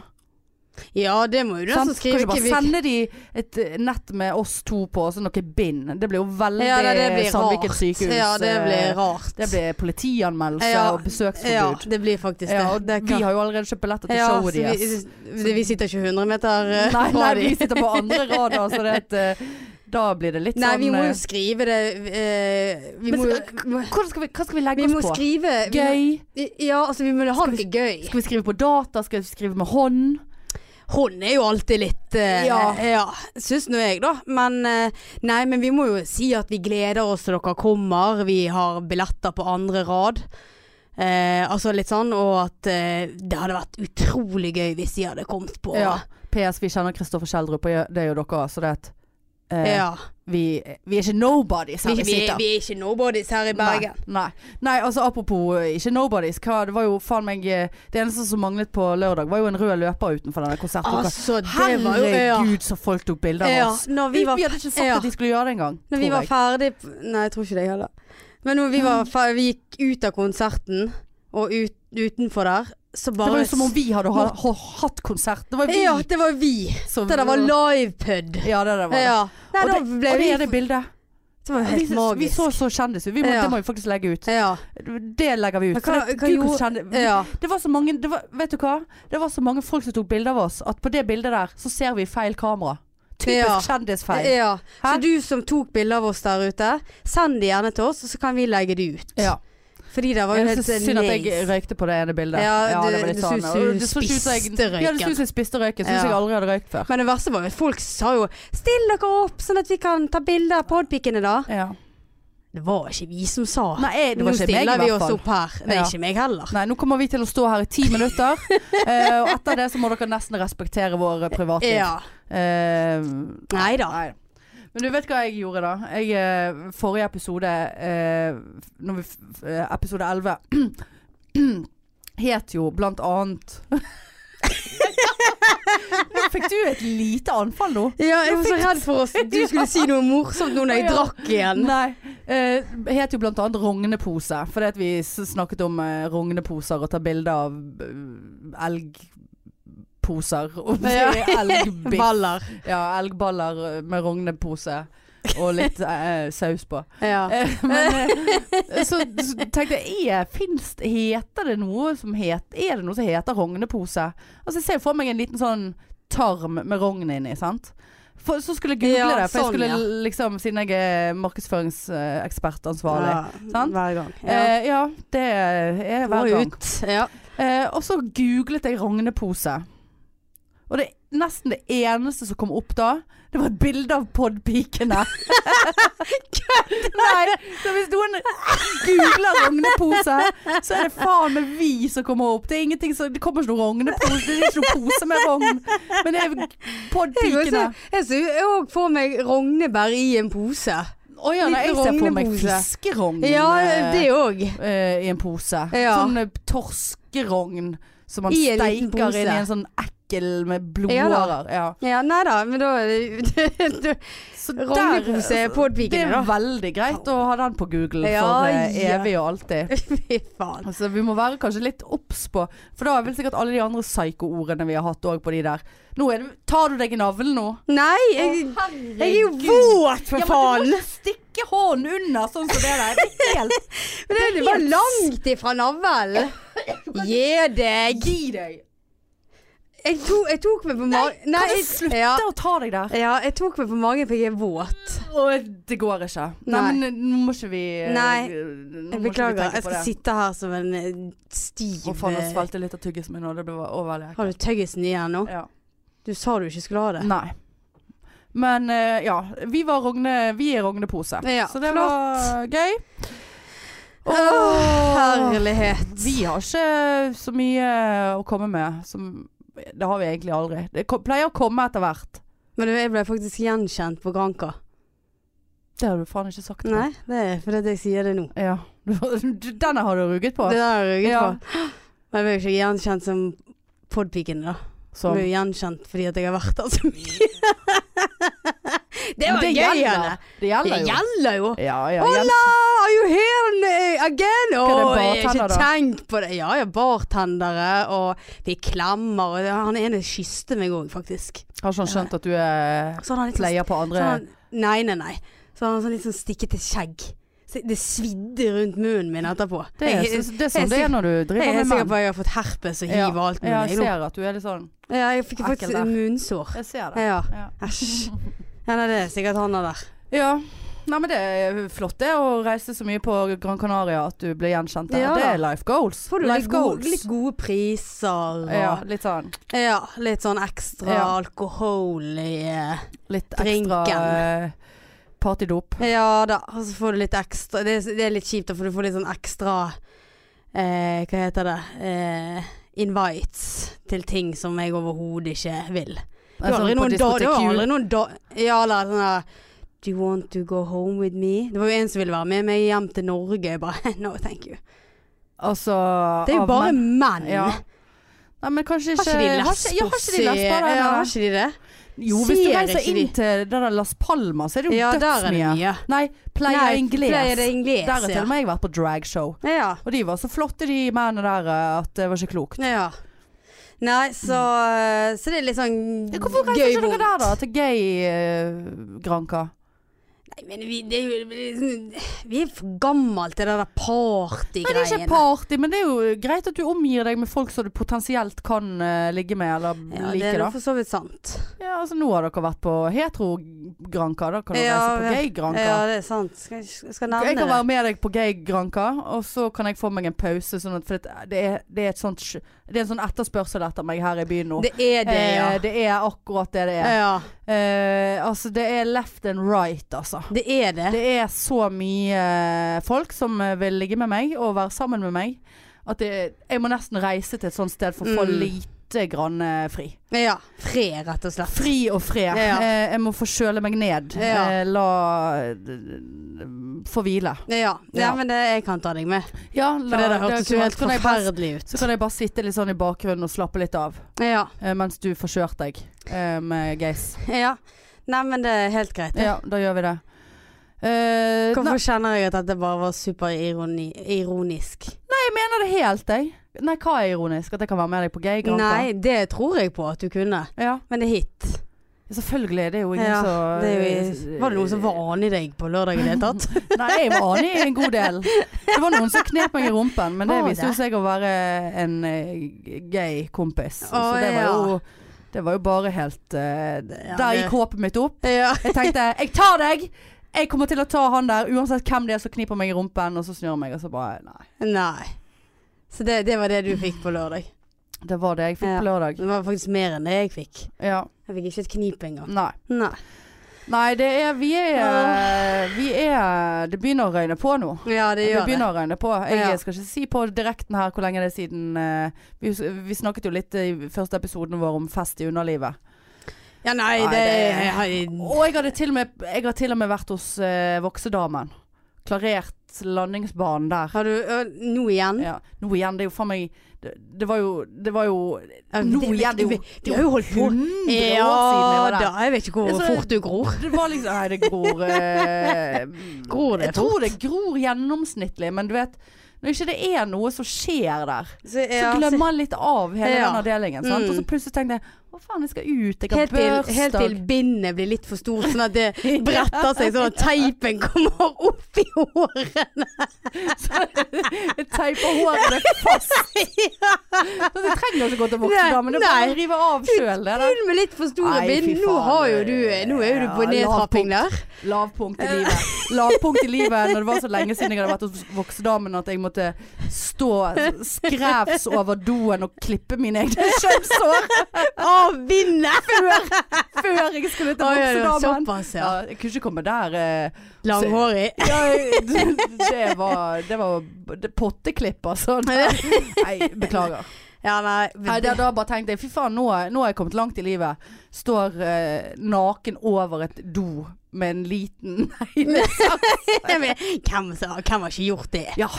S3: Ja, det må jo den
S2: Sant?
S3: som
S2: Kan vi
S3: skriver
S2: ikke
S3: vi-
S2: sende de et eh, nett med oss to på, så noe bind? Det blir jo veldig
S3: Ja, det, det blir
S2: Sandviken
S3: rart.
S2: sykehus.
S3: Ja, det blir
S2: eh,
S3: rart.
S2: det blir politianmeldelse
S3: Ja,
S2: og
S3: Ja,
S2: besøksforbud. Ja.
S3: det blir faktisk det.
S2: og
S3: det
S2: Vi har jo allerede kjøpt billetter til
S3: ja, så
S2: showet deres.
S3: vi, vi, vi sitter ikke 100 meter eh,
S2: Nei,
S3: fra
S2: nei,
S3: de.
S2: vi sitter på andre rader, så det at, eh, da blir det litt
S3: Nei,
S2: sånn
S3: vi må
S2: eh,
S3: jo skrive det eh, Vi
S2: Men
S3: må jo
S2: skal-
S3: vi må-
S2: hvordan skal vi, Hva skal vi
S3: Vi
S2: legge
S3: må
S2: oss på?
S3: skrive vi må-
S2: Gøy?
S3: Ja, altså vi må ha
S2: Skal vi-
S3: noe gøy.
S2: Skal vi skrive på data? Skal vi skrive med hånd?
S3: Hun er jo alltid litt eh,
S2: Ja.
S3: ja Syns nå jeg, da. Men eh, nei, men vi må jo si at vi gleder oss til dere kommer. Vi har billetter på andre rad. Eh, altså litt sånn, og at eh, det hadde vært utrolig gøy hvis de hadde kommet på.
S2: Ja. PS, vi kjenner Kristoffer Schjelderup, og det gjør dere òg, så det at eh,
S3: Ja.
S2: vi, vi er ikke nobodies
S3: Vi,
S2: her vi,
S3: vi,
S2: sitter.
S3: vi er ikke nobodies her i Bergen.
S2: Nei, nei. nei, altså apropos eh, ikke nobodies. Hva, det var jo faen meg eh, Det eneste som manglet på lørdag, var jo en rød løper utenfor denne konserten.
S3: Altså, det var jo ja.
S2: Herregud, så folk tok bilder av
S3: ja.
S2: oss.
S3: Når
S2: Vi,
S3: vi var,
S2: hadde ikke sagt
S3: ja.
S2: at de skulle gjøre det engang.
S3: når vi
S2: tror
S3: var
S2: jeg.
S3: ferdig p- Nei, jeg tror ikke det jeg heller. Men når vi, var fer- vi gikk ut av konserten, og ut, utenfor der, så
S2: Det
S3: bare
S2: var jo som om vi hadde ha, ha, hatt konsert. Det var jo vi
S3: Ja, det var vi.
S2: som
S3: Det der var livepod.
S2: Ja, det der var det.
S3: Ja. Nei,
S2: Og
S3: da
S2: det,
S3: ble
S2: og det
S3: vi
S2: er det bildet.
S3: Det var
S2: Vi,
S3: helt magisk.
S2: vi så så kjendis ut. Vi må-
S3: Ja.
S2: Det må vi faktisk legge ut.
S3: Ja.
S2: Det legger vi ut.
S3: Men
S2: For
S3: hva-
S2: det,
S3: hva
S2: Gud,
S3: gjorde-
S2: kjendis-
S3: ja.
S2: Det var så mange det var, Vet du hva? Det var så mange folk som tok bilder av oss At på det bildet der så ser vi feil kamera Typisk
S3: Ja.
S2: kjendisfeil
S3: ja. Så
S2: Hæ?
S3: du som tok bilder av oss der ute, send de gjerne til oss, og så kan vi legge de ut.
S2: Ja.
S3: Fordi det var jo
S2: Jeg
S3: helt
S2: synes synd at jeg
S3: nails.
S2: røykte på det ene bildet
S3: Ja, du-
S2: det var litt
S3: det
S2: sånn
S3: synes
S2: Og
S3: du
S2: det så ikke ut som jeg-
S3: spiste røyken.
S2: Ja, det synes jeg spiste røyken Synes
S3: Ja.
S2: jeg aldri hadde røykt før
S3: Men det verste var jo at folk sa jo 'still dere opp, sånn at vi kan ta bilder av podpikene', da.
S2: ja.
S3: Det var ikke vi som sa.
S2: Nei, jeg, det
S3: Nå
S2: var ikke meg
S3: stiller
S2: i
S3: vi
S2: hvert
S3: oss
S2: fall
S3: opp her. Det er
S2: Ja.
S3: ikke meg heller.
S2: Nei, nå kommer vi til å stå her i ti minutter eh, Og etter det så må dere nesten respektere vår privatliv
S3: Ja.
S2: eh,
S3: Nei da.
S2: Nei. Men du vet hva jeg gjorde da? Jeg, eh, forrige episode, eh, når vi, f- f- eh, episode 11, het jo blant annet Nå fikk du et lite anfall nå.
S3: Ja, jeg var så redd for oss. Du skulle si noe morsomt nå når jeg
S2: Ja.
S3: drakk igjen.
S2: Nei. Eh, het jo blant annet rognepose, fordi at vi s- snakket om eh, rogneposer og ta bilde av eh, elgposer. Og
S3: Ja.
S2: elgbiff.
S3: Baller.
S2: Ja, elgballer med rognepose og litt eh, saus på.
S3: Ja.
S2: Eh, Men, eh, så, så tenkte jeg, er, finnes, heter det noe som heter, er det noe som heter rognepose? Altså jeg ser for meg en liten sånn tarm med rogn inni, sant? For, så skulle jeg google
S3: Ja,
S2: det, for
S3: sånn,
S2: jeg skulle
S3: ja.
S2: liksom, siden jeg er markedsføringsekspertansvarlig.
S3: Ja,
S2: sant?
S3: Hver gang.
S2: Ja.
S3: Ja.
S2: Eh, ja, det er hver gang.
S3: Eh, Ut. Ja.
S2: Eh, og så googlet jeg rognepose. Og det nesten det eneste som kom opp da, det var et bilde av podpikene. Nei, så hvis noen googler rognepose, så er det faen meg vi som kommer opp. Det, er ingenting som, det kommer ikke noe rognepose, det er ikke noe pose med rogn. Men det er
S3: Jeg
S2: podpikene.
S3: så- Jeg så òg for meg rognebær i en pose.
S2: Å ja, nei, jeg
S3: liten
S2: ser for meg
S3: rognepose.
S2: fiskerogn
S3: Ja, det òg.
S2: eh, i en pose.
S3: Ja.
S2: Sånn eh, torskerogn som man
S3: I en liten
S2: steiker
S3: pose.
S2: inn i en sånn ekkel med
S3: Ja da.
S2: blodårer. Ja.
S3: Ja, nei da, men da Rognepose
S2: Så
S3: er
S2: det
S3: podpikene,
S2: er
S3: da.
S2: veldig greit å ha den på Google
S3: Ja,
S2: for eh,
S3: ja.
S2: evig og alltid.
S3: Fy faen.
S2: Så vi må være kanskje litt obs på For da vil sikkert alle de andre psyko-ordene vi har hatt òg på de der Nå er det, Tar du deg i navlen nå?
S3: Nei, jeg,
S2: Å,
S3: jeg er jo
S2: herregud.
S3: våt, for
S2: Ja, men
S3: faen!
S2: du må ikke stikke hånden under sånn som det der. Det er helt
S3: Men det er jo bare langt ifra navlen. Gi deg.
S2: Gi deg.
S3: Jeg, to, jeg tok meg på magen
S2: Kan du
S3: jeg-
S2: slutte
S3: Ja,
S2: å ta deg der?
S3: ja, jeg tok meg på magen, for jeg er våt.
S2: Og det går ikke. Nei,
S3: Nei.
S2: men nå må ikke vi eh,
S3: Nei,
S2: nå må
S3: Jeg
S2: ikke vi
S3: beklager.
S2: tenke
S3: Jeg
S2: på
S3: skal
S2: det.
S3: sitte her som en eh, stiv
S2: Å faen, jeg
S3: eh,
S2: svelget litt av tyggisen min, og det ble overlig.
S3: Har du tyggisen igjen nå?
S2: Ja.
S3: Du sa du ikke skulle ha det.
S2: Nei. Men eh, ja, vi var Rogne, vi er Rognepose.
S3: Ja,
S2: så det
S3: flott.
S2: var gøy.
S3: Å, herlighet.
S2: Vi har ikke så mye eh, å komme med. Som, det har vi egentlig aldri. Det ko- pleier å komme etter hvert.
S3: Men du, jeg ble faktisk gjenkjent på Granka.
S2: Det har du faen ikke sagt.
S3: Nei, det er fordi at jeg sier det nå.
S2: Ja. Du- Denne har du ruget på.
S3: Det der har jeg rugget
S2: Ja.
S3: på. Men jeg ble jo ikke gjenkjent som podpiken, da. Jeg
S2: Som
S3: ble jo gjenkjent fordi at jeg har vært der så mye.
S1: Det var
S2: Men
S1: gøy,
S2: gjelder.
S1: eller?
S2: Det gjelder
S1: Det
S2: jo.
S1: gjelder jo.
S2: Ja, ja, gjelder.
S3: Hola, are you here eh, again? Å,
S2: det
S3: jeg har
S2: bartender,
S3: ikke
S2: da?
S3: tenkt på det. Ja, ja, bartendere, og vi klemmer, og han ene kysste meg òg, faktisk.
S2: Har ikke han skjønt at du er
S3: Så han har litt sånn
S2: pleier på andre
S3: Sånn, nei, nei, nei. Så han har sånn litt sånn stikkete skjegg. Så Det svidde rundt munnen min etterpå.
S2: Det er,
S3: jeg,
S2: det er sånn det er når du
S3: jeg er
S2: driver
S3: helt
S2: med
S3: sikker
S2: menn.
S3: på at jeg har fått herpes og hiv og alt mulig.
S2: ja, jeg
S3: nå.
S2: ser at du er litt sånn
S3: ja, jeg fikk
S2: Ekkel der.
S3: faktisk munnsår.
S2: Jeg ser det.
S3: Ja,
S2: Ja.
S3: æsj. Ja, nei, det er sikkert han der.
S2: ja. Nei, men det er flott det å reise så mye på Gran Canaria at du blir gjenkjent der.
S3: Ja,
S2: det
S3: da.
S2: er life goals.
S3: Får du
S2: life
S3: litt, gode- litt gode priser og
S2: Ja,
S3: ja.
S2: litt sånn.
S3: litt sånn ekstra
S2: Ja.
S3: alkohol i eh,
S2: Litt ekstra
S3: Drinken.
S2: eh, partydop.
S3: Ja da, og så får du litt ekstra Det, er- det er litt kjipt, da, for du får litt sånn ekstra eh, Hva heter det? Eh, invites til ting som jeg overhodet ikke vil.
S2: Altså,
S3: Du har
S2: sånn
S3: aldri noen da, du har aldri noen da Ja, eller sånn der Do you want to go home with me? Det var jo en som ville være med meg hjem til Norge. Jeg bare No, thank you.
S2: Altså
S3: Det er jo
S2: av
S3: bare
S2: menn.
S3: menn.
S2: Ja. Nei, men kanskje ikke
S3: Har ikke de lesbos
S2: ikke- ja, har ikke de lesber der?
S3: i- Ja,
S2: nei?
S3: har ikke de det?
S2: Jo, hvis du
S3: Ser
S2: reiser
S3: ikke
S2: inn
S3: de.
S2: til det der Las Palmas, så er det jo
S3: Ja, der er det
S2: dødsmye.
S3: mye.
S2: Nei, Playa
S3: Nei,
S2: Ingles.
S3: Playa de Ingles,
S2: Der har til
S3: ja.
S2: og med jeg vært på dragshow.
S3: Ja.
S2: Og de var så flotte, de mennene der, eh, at det var ikke klokt.
S3: ja. Nei, så, så det er litt sånn gøy
S2: Hvorfor reiser ikke dere
S3: vondt.
S2: der, da? Til gay eh, Granca?
S3: Nei, men vi, det er jo Vi er for gammel til det der
S2: Nei, det er ikke
S3: partygreiene.
S2: party, men det er jo greit at du omgir deg med folk som du potensielt kan eh, ligge med, eller
S3: ja, det
S2: like,
S3: er
S2: da.
S3: jo for så vidt sant.
S2: Ja, altså nå har dere vært på hetero Granca, da kan dere reise
S3: Ja,
S2: på
S3: ja.
S2: gay Granca.
S3: Ja, det er sant. Skal, jeg- skal jeg nevne
S2: Jeg kan
S3: det.
S2: være med deg på gay Granca, og så kan jeg få meg en pause. Sånn at, for det, det, er, det, er et sånt, sj- det er en sånn etterspørsel etter meg her i byen nå.
S3: Det er det, ja.
S2: Eh, det er akkurat det det er.
S3: ja.
S2: Eh, altså, det er left and right, altså.
S3: Det er det.
S2: Det er så mye eh, folk som eh, vil ligge med meg og være sammen med meg, at det, jeg må nesten reise til et sånt sted for å få
S3: Mm.
S2: lite grann eh, fri.
S3: Ja. Fred, rett og slett.
S2: Fri og fred.
S3: Ja.
S2: Eh, jeg må få kjøle meg ned.
S3: Ja.
S2: Eh, la Få hvile.
S3: Ja. ja,
S2: Ja.
S3: men det, jeg kan ta deg med.
S2: Ja,
S3: For
S2: la,
S3: det sånn der hørtes jo helt
S2: kan jeg bare
S3: forferdelig ut.
S2: Så kan jeg bare sitte litt sånn i bakgrunnen og slappe litt av.
S3: Ja.
S2: eh, mens du får kjørt deg eh, med Geis.
S3: ja. Nei, men det er helt greit. det.
S2: Ja, da gjør vi det. Eh, nei,
S3: Hvorfor kjenner jeg at dette bare var superironisk?
S2: jeg mener det helt, jeg. Nei, hva er ironisk? At jeg kan være med deg på gay Granca?
S3: Nei, det tror jeg på at du kunne.
S2: Ja,
S3: Men det er hit.
S2: selvfølgelig. Det er jo ingen
S3: Ja,
S2: som eh,
S3: Det er jo, var det noen som var anig deg på lørdag i det hele tatt?
S2: Nei, jeg var anig i en god del. Det var noen som knep meg i rumpen, men det
S3: Var
S2: viste jo seg å være en eh, gay kompis. Så
S3: Å,
S2: det var
S3: ja.
S2: jo Det var jo bare helt eh, Der
S3: det-
S2: gikk håpet mitt opp.
S3: Ja.
S2: Jeg tenkte 'jeg tar deg'! Jeg kommer til å ta han der, uansett hvem det er som kniper meg i rumpen. Og så snur jeg meg, og så bare Nei.
S3: Nei. Så det, det var det du fikk på lørdag.
S2: Det var det jeg fikk
S3: Ja.
S2: på lørdag.
S3: Det var faktisk mer enn det jeg fikk.
S2: Ja.
S3: Jeg fikk ikke et knip engang.
S2: Nei.
S3: Nei.
S2: Nei, det er Vi er Vi er Det begynner å røyne på nå.
S3: Ja, det gjør det.
S2: begynner å røyne på. Jeg
S3: Ja.
S2: skal ikke si på direkten her hvor lenge det er siden eh, vi, vi snakket jo litt i første episoden vår om fest i underlivet.
S3: Ja, nei,
S2: Nei,
S3: det
S2: det-
S3: jeg har-
S2: Og jeg, hadde til og med, jeg har til og med vært hos eh, voksedamen. Klarert landingsbanen der.
S3: Har du ø, Nå igjen?
S2: Ja. Nå igjen, det er jo faen meg det, det var jo Det var jo
S3: Ja,
S2: Nå
S3: det-
S2: igjen, det er jo
S3: De har jo holdt på
S2: 100
S3: Ja
S2: år siden jeg var der.
S3: da. Jeg vet ikke hvor
S2: Det er så-
S3: fort du gror.
S2: Det var liksom Nei, det gror eh,
S3: Gror det
S2: Jeg tror det gror gjennomsnittlig, men du vet når ikke det er noe som skjer der,
S3: Så,
S2: så
S3: ja,
S2: glemmer man litt av hele
S3: Ja.
S2: den avdelingen. Sant?
S3: Mm.
S2: Og så plutselig tenkte jeg Å faen, jeg skal ut, jeg har
S3: Helt til,
S2: børsdag.
S3: helt til bindet blir litt for stort, sånn at det bretter seg sånn at teipen kommer opp i håret.
S2: Jeg teiper hårene fast. Så jeg trenger ikke gå til voksendamen, det er bare
S3: Nei.
S2: å rive av sjøl, det der.
S3: Kun med litt for store
S2: Nei, fy
S3: bind. Nå,
S2: faen.
S3: har jo du, eh, nå er jo du på
S2: Ja,
S3: nedtrapping
S2: lavpunkt.
S3: der.
S2: Lavpunkt i livet. Lavpunkt i livet når det var så lenge siden jeg hadde vært hos voksedamen at jeg måtte stå skrevs over doen og klippe mine egne kjønnshår
S3: Av bindet!
S2: før jeg skulle til
S3: Oi, oi, oi,
S2: voksedamen.
S3: Såpass,
S2: Ja,
S3: ja.
S2: jeg kunne ikke komme der. eh.
S3: Langhårig.
S2: Ja, det var, det var det- potteklipp, altså. Nei, beklager.
S3: Ja, nei.
S2: Nei, da, da bare tenkte jeg fy faen, nå, nå har jeg kommet langt i livet. Står eh, naken over et do med en liten neglesaks.
S3: Jeg vet- hvem, sa- hvem har ikke gjort det?
S2: Ja,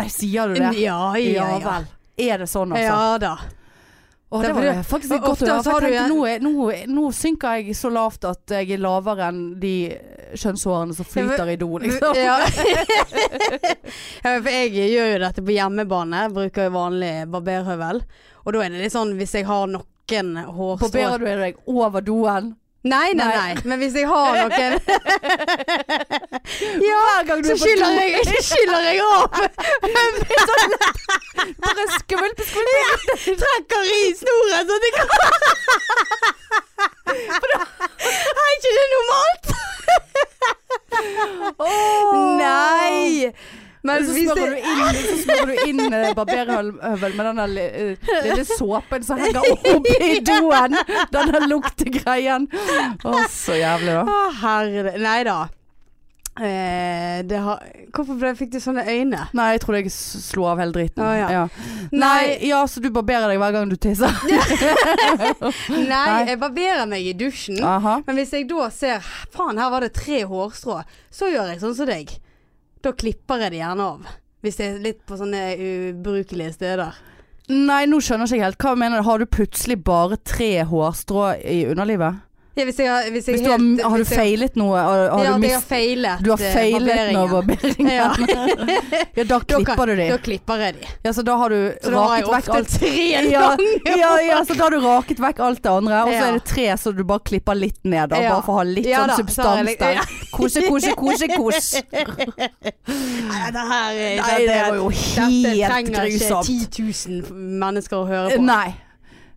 S2: nei, sier du
S3: Ja,
S2: det?
S3: ja, ja.
S2: vel. Er det sånn, altså?
S3: Ja da.
S2: Å, Åh,
S3: Det
S2: det var
S3: er fordi-
S2: det faktisk et
S3: og
S2: godt å
S3: ofte
S2: høre. For
S3: så
S2: jeg
S3: har
S2: tenkte
S3: du
S2: nå, er, nå, er- nå synker jeg så lavt at jeg er lavere enn de eh, kjønnshårene som
S3: men-
S2: flyter i do, liksom.
S3: Ja. Ja, for jeg gjør jo dette på hjemmebane. Bruker jo vanlig barberhøvel. Og da er det litt sånn hvis jeg har noen hårstrå
S2: Barberer du deg over doen?
S3: Nei, nei, nei.
S2: Nei.
S3: Men hvis jeg har noen Ja,
S2: Hver gang du er på do,
S3: så skyller jeg, så skyller jeg av.
S2: bare skvulpe, skvulpe.
S3: Trekker i snoren sånn at jeg kan For da Er ikke det normalt?
S2: Åh.
S3: Nei. Men
S2: så
S3: hvis
S2: smører
S3: det
S2: du inn, så smører du inn eh, barberhøvel med den der li- eh, lille såpen som henger opp i doen. Den der luktegreien. Å, så jævlig, da.
S3: Å, herre Nei da. Eh, det har Hvorfor ble, fikk du sånne øyne?
S2: Nei, jeg trodde jeg s- slo av hele dritten.
S3: Å, ja.
S2: Nei, ja, så du barberer deg hver gang du tisser?
S3: Nei, jeg barberer meg i dusjen.
S2: Aha.
S3: Men hvis jeg da ser Faen, her var det tre hårstrå. Så gjør jeg sånn som deg. Da klipper jeg det gjerne av. Hvis det er litt på sånne ubrukelige steder.
S2: Nei, nå skjønner jeg ikke helt. Hva mener du? Har du plutselig bare tre hårstrå i underlivet?
S3: Ja, hvis jeg, har- hvis jeg
S2: Hvis du har,
S3: helt-
S2: har du
S3: hvis jeg-
S2: feilet noe? Har, har
S3: ja,
S2: du,
S3: at jeg har
S2: mist,
S3: feilet
S2: du har
S3: eh,
S2: feilet
S3: barberingen.
S2: nå barberingen? Ja.
S3: Ja.
S2: da klipper du de.
S3: Da klipper jeg de.
S2: Ja, så da har du
S3: Så da har jeg
S2: raket vekk
S3: ofte
S2: alt
S3: tre
S2: ja,
S3: ganger.
S2: ja, ja, så da har du raket vekk alt det andre, og så
S3: Ja.
S2: er det tre så du bare klipper litt ned, da.
S3: Ja.
S2: Bare for å ha litt
S3: Ja
S2: sånn
S3: da, så har
S2: substans
S3: jeg liksom- litt-
S2: der.
S3: ja.
S2: Kose, kose, kose, kos.
S3: Nei, det her er-
S2: Nei, det var jo
S3: Dette
S2: helt
S3: trenger ikke
S2: grusomt. Eh,
S3: 10 000 mennesker å høre på. Mm.
S2: Nei.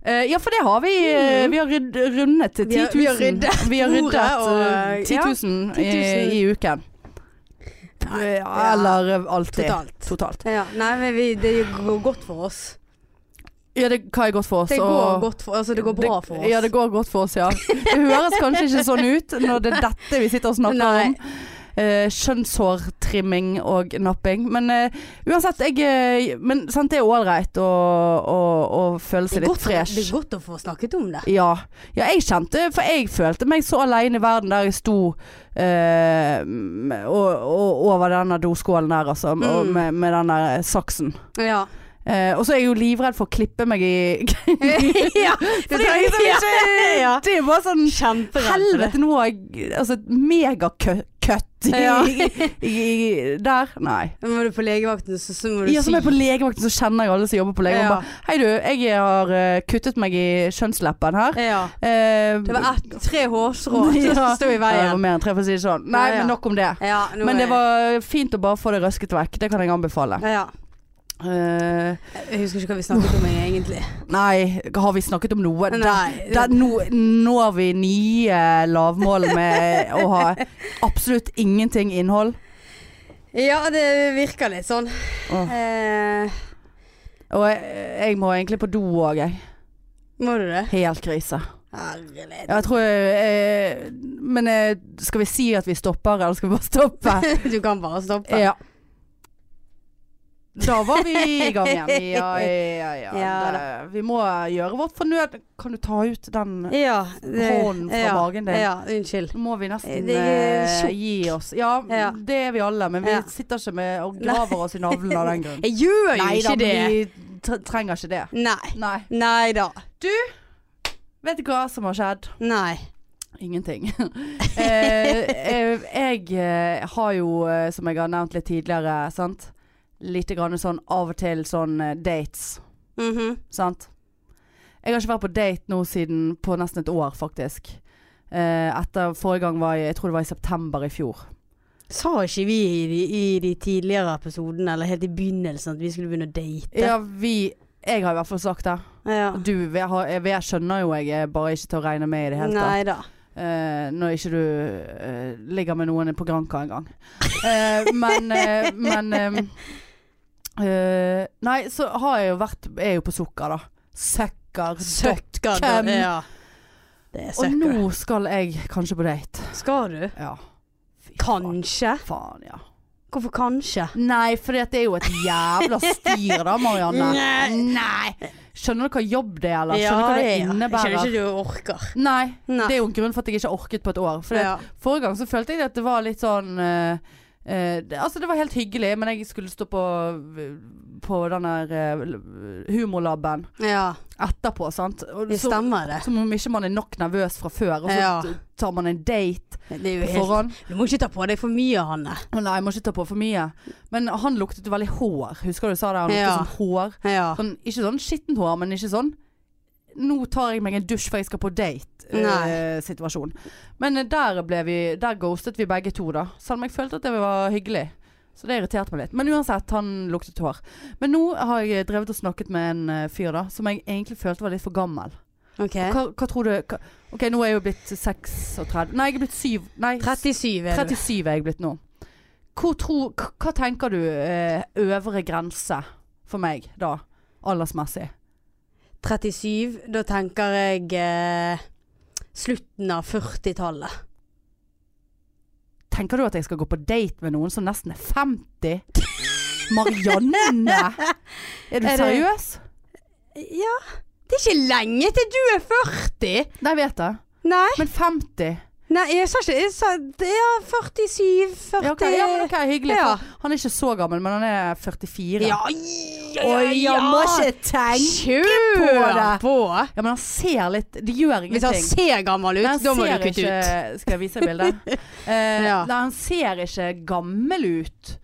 S2: Eh, ja, for det har vi. eh, Vi har rydd, rundet til 10
S3: Vi har-
S2: 000.
S3: vi har ryddet
S2: Vi har ryddet,
S3: bordet, og,
S2: eh, 10 000
S3: 10 000.
S2: I, i uken.
S3: Nei,
S2: Eh,
S3: ja.
S2: Eller eh, alltid.
S3: Totalt.
S2: Totalt.
S3: Ja, nei, men vi, det går godt for oss.
S2: Ja, det, hva er godt for oss?
S3: Det går
S2: og-
S3: godt for Altså, det går bra for oss.
S2: Ja, det går godt for oss, ja. Det høres kanskje ikke sånn ut når det er dette vi sitter og snakker
S3: Nei.
S2: om. Eh, kjønnshårtrimming og napping. Men eh, uansett, jeg eh, Men sant, det er ålreit å, å, å føle
S3: Det
S2: seg
S3: er
S2: litt
S3: godt- Det
S2: fresh.
S3: er godt å få snakket om det.
S2: Ja. ja, jeg kjente For jeg følte meg så aleine i verden der jeg sto eh, og, og, over den der doskålen der, altså. Og
S3: Mm.
S2: med, med den der saksen.
S3: Ja.
S2: Eh, og så er jeg jo livredd for å klippe meg i
S3: ja
S2: For det er liksom ikke-
S3: ja.
S2: Det er jo bare sånn
S3: Kjemperedd for det.
S2: Helvete, nå har jeg altså, et megakøtt i,
S3: Ja.
S2: i, i Der. Nei.
S3: Men Må du på legevakten, så, så må du
S2: Ja, som
S3: si
S2: er på legevakten, så kjenner jeg alle som jobber på legevakten.
S3: Ja.
S2: Bare, Hei du, jeg har eh, kuttet meg i kjønnsleppen her.
S3: ja.
S2: Eh,
S3: Det var ett, tre hårstrå som
S2: Ja.
S3: sto i
S2: Ja, det var
S3: veien.
S2: mer enn tre, for å si det sånn. Nei,
S3: Ja, ja.
S2: men nok om det.
S3: Ja, nå
S2: Men det
S3: er-
S2: var fint å bare få det røsket vekk. Det kan jeg anbefale.
S3: ja.
S2: Eh,
S3: Jeg husker ikke hva vi snakket om egentlig.
S2: nei, har vi snakket om noe?
S3: Nei.
S2: Der, nå når vi nye lavmål med å ha absolutt ingenting innhold.
S3: Ja, det virker litt sånn.
S2: Åh.
S3: Eh,
S2: Og jeg, jeg må egentlig på do òg, jeg.
S3: må du det?
S2: Helt krise.
S3: Herlighet.
S2: Ja, Jeg tror jeg, eh, Men eh, skal vi si at vi stopper, eller skal vi bare stoppe?
S3: Du kan bare stoppe.
S2: Ja. Da var vi i gang igjen. Ja, ja, ja.
S3: Ja
S2: Det- vi må gjøre vårt fornød. Kan du ta ut den
S3: Ja.
S2: hånden fra
S3: ja,
S2: magen din?
S3: Ja, unnskyld.
S2: Nå må vi nesten
S3: Det er
S2: eh,
S3: tjukk.
S2: gi oss. Ja,
S3: Ja.
S2: det er vi alle, men vi
S3: Ja.
S2: sitter ikke med og graver oss i navlen av den grunn.
S3: Jeg gjør jo
S2: Nei da,
S3: ikke det.
S2: men vi tre- trenger ikke det.
S3: Nei.
S2: Nei.
S3: Nei da.
S2: Vet du hva som har skjedd?
S3: Nei.
S2: Ingenting. eh, eh, jeg eh, har jo, eh, som jeg har nevnt litt tidligere, sant? Lite grann sånn av og til sånn eh, dates,
S3: Mhm.
S2: sant? Jeg har ikke vært på date nå siden på nesten et år, faktisk. Eh, etter forrige gang var jeg, jeg tror det var i september i fjor.
S3: Sa ikke vi i de, i de tidligere episodene, eller helt i begynnelsen, at vi skulle begynne å date?
S2: Ja, vi Jeg har i hvert fall sagt det.
S3: ja.
S2: Du, jeg, har, jeg, jeg skjønner jo jeg er bare ikke til å regne med i det hele tatt.
S3: Nei da.
S2: Eh, når ikke du eh, ligger med noen på Granca en gang. Eh, men eh, men eh, eh, Nei, så har jeg jo vært Er jo på sukker, da. Søkker. døkk.
S3: Søkker.
S2: Hvem?
S3: du- Ja. Det er
S2: Og
S3: søkker.
S2: nå skal jeg kanskje på date.
S3: skal du?
S2: Ja. Fy faen.
S3: Kanskje?
S2: Faen, ja.
S3: Hvorfor kanskje?
S2: Nei, for det er jo et jævla styr da, Marianne.
S3: Nei.
S2: Nei. Skjønner du hva jobb det er, eller? Skjønner du hva det
S3: Jeg
S2: innebærer?
S3: skjønner ikke du orker.
S2: Nei.
S3: Nei.
S2: Det er jo en grunn for at jeg ikke har orket på et år. For det
S3: ja.
S2: Forrige gang så følte jeg at det var litt sånn eh, Eh, det, altså det var helt hyggelig, men jeg skulle stå på, på den der eh, humorlaben
S3: Ja,
S2: etterpå, sant. Og
S3: det
S2: så-
S3: stemmer det.
S2: Som om ikke man er nok nervøs fra før, og så
S3: Ja.
S2: t- tar man en date
S3: det er
S2: på
S3: jo helt,
S2: forhånd.
S3: du må ikke ta på deg for mye, Hanne.
S2: Å nei, jeg må ikke ta på for mye. Men han luktet jo veldig hår. Husker du sa det? Han luktet
S3: Ja.
S2: som hår.
S3: Ja.
S2: Sånn, ikke sånn skittent hår, men ikke sånn Nå tar jeg meg en dusj for jeg skal på
S3: Nei.
S2: date-situasjon. men eh, der ble vi Der ghostet vi begge to, da. Selv om jeg følte at det var hyggelig. Så det irriterte meg litt. Men uansett, han luktet hår. Men nå har jeg drevet og snakket med en eh, fyr da som jeg egentlig følte var litt for gammel.
S3: Ok.
S2: Hva, hva tror du hva, Ok, nå er jeg jo blitt 36 Nei, jeg er blitt 7 Nei,
S3: 37 er du.
S2: 37 er jeg blitt nå. Hvor tror- hva, hva tenker du eh, øvre grense for meg da, aldersmessig?
S3: 37, da tenker jeg eh, slutten av 40-tallet.
S2: Tenker du at jeg skal gå på date med noen som nesten er 50? Marianne! Er du
S3: Er det-
S2: seriøs?
S3: Ja. Det er ikke lenge til du er 40!
S2: Nei, jeg vet det.
S3: Nei,
S2: Men 50
S3: nei jeg sa ikke jeg sa, det er 47, 40
S2: Ja, ok, ja men ok, hyggelig.
S3: Ja.
S2: for Han er ikke så gammel, men han er 44.
S3: Ja,
S2: Oi, jeg må ikke
S3: tenke
S2: på det.
S3: på
S2: Ja, men han ser litt Det gjør ingenting.
S3: Hvis han ser gammel ut,
S2: Nei, han
S3: da må du
S2: ser
S3: kutte
S2: ikke,
S3: ut.
S2: Skal jeg vise deg bildet? Eh,
S3: Ja.
S2: Nei, han ser ikke gammel ut.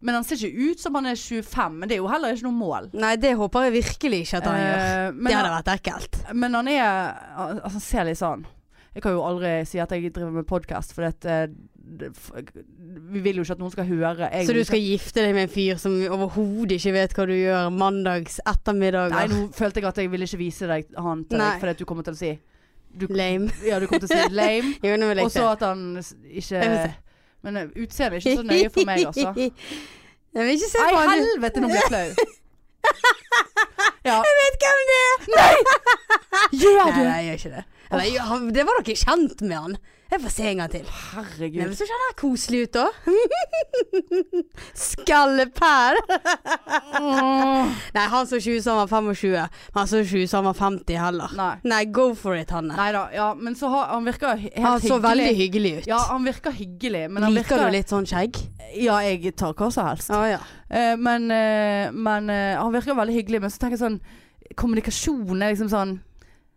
S2: Men han ser ikke ut som han er 25. Men det er jo heller ikke noe mål.
S3: Nei, det håper jeg virkelig ikke at han gjør.
S2: Eh, men,
S3: det hadde
S2: han,
S3: vært ekkelt.
S2: men han er al- Altså, han ser litt sånn Jeg kan jo aldri si at jeg driver med podkast, for at, eh, det, f- vi vil jo ikke at noen skal høre. Jeg
S3: Så
S2: vil
S3: du
S2: ikke-
S3: skal gifte deg med en fyr som overhodet ikke vet hva du gjør mandags
S2: Nei,
S3: ettermiddager?
S2: nå følte jeg at jeg ville ikke vise deg han til
S3: Nei.
S2: deg, fordi at du kommer til å si
S3: Lame.
S2: Ja, du kommer til å si lame.
S3: Jo, nå vil jeg
S2: Og så
S3: ikke.
S2: at han s- ikke
S3: Jeg vil se.
S2: Men eh, utseendet er ikke så nøye for meg, altså.
S3: Jeg vil ikke se
S2: Nei,
S3: på han.
S2: helvete, nå blir jeg flau. Ja.
S3: vet hvem det er!
S2: Gjør
S3: Nei, nei, jeg gjør ikke det. Eller, jeg- han, det var dere kjent med han. Jeg får se en gang til. Nei, men
S2: Herregud.
S3: så ser han her koselig ut, da. Skallepæl. Nei, han så ikke ut som han var 25. Men han så ikke ut som han var 50 heller.
S2: Nei.
S3: Nei, go for it, Hanne.
S2: Nei da. Ja, men så har Han virker he- helt
S3: Han så veldig
S2: hyggelig.
S3: hyggelig ut.
S2: Ja, han virker hyggelig, men han
S3: Liker
S2: virker
S3: du litt sånn skjegg?
S2: Ja, jeg tar hva som helst.
S3: Å ja.
S2: Eh, men eh, men eh, han virker veldig hyggelig, men så tenker jeg sånn Kommunikasjon er liksom sånn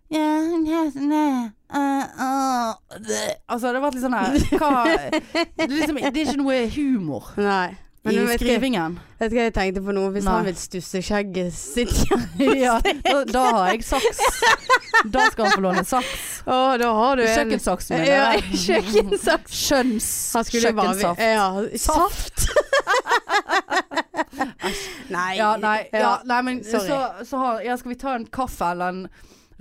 S2: ja, ja, nei, eh, ah, det. Altså, det har vært litt sånn her hva, det, er liksom, det er ikke noe humor
S3: Nei. Men
S2: i
S3: du vet, hva,
S2: skrivingen.
S3: vet du hva jeg tenkte på nå? Hvis
S2: Nei.
S3: han vil stusse skjegget sitt
S2: ja, da, da har jeg saks. Da skal han få låne saks.
S3: Å, da har du en
S2: Kjøkkensaksen min.
S3: Ja,
S2: eller?
S3: kjøkkensaks.
S2: Skjønns
S3: Han skulle jo bare
S2: kjøkkensaft.
S3: Ja, saft. nei.
S2: Ja, nei, ja, nei, men så,
S3: Sorry.
S2: så har, ja, skal vi ta en kaffe eller en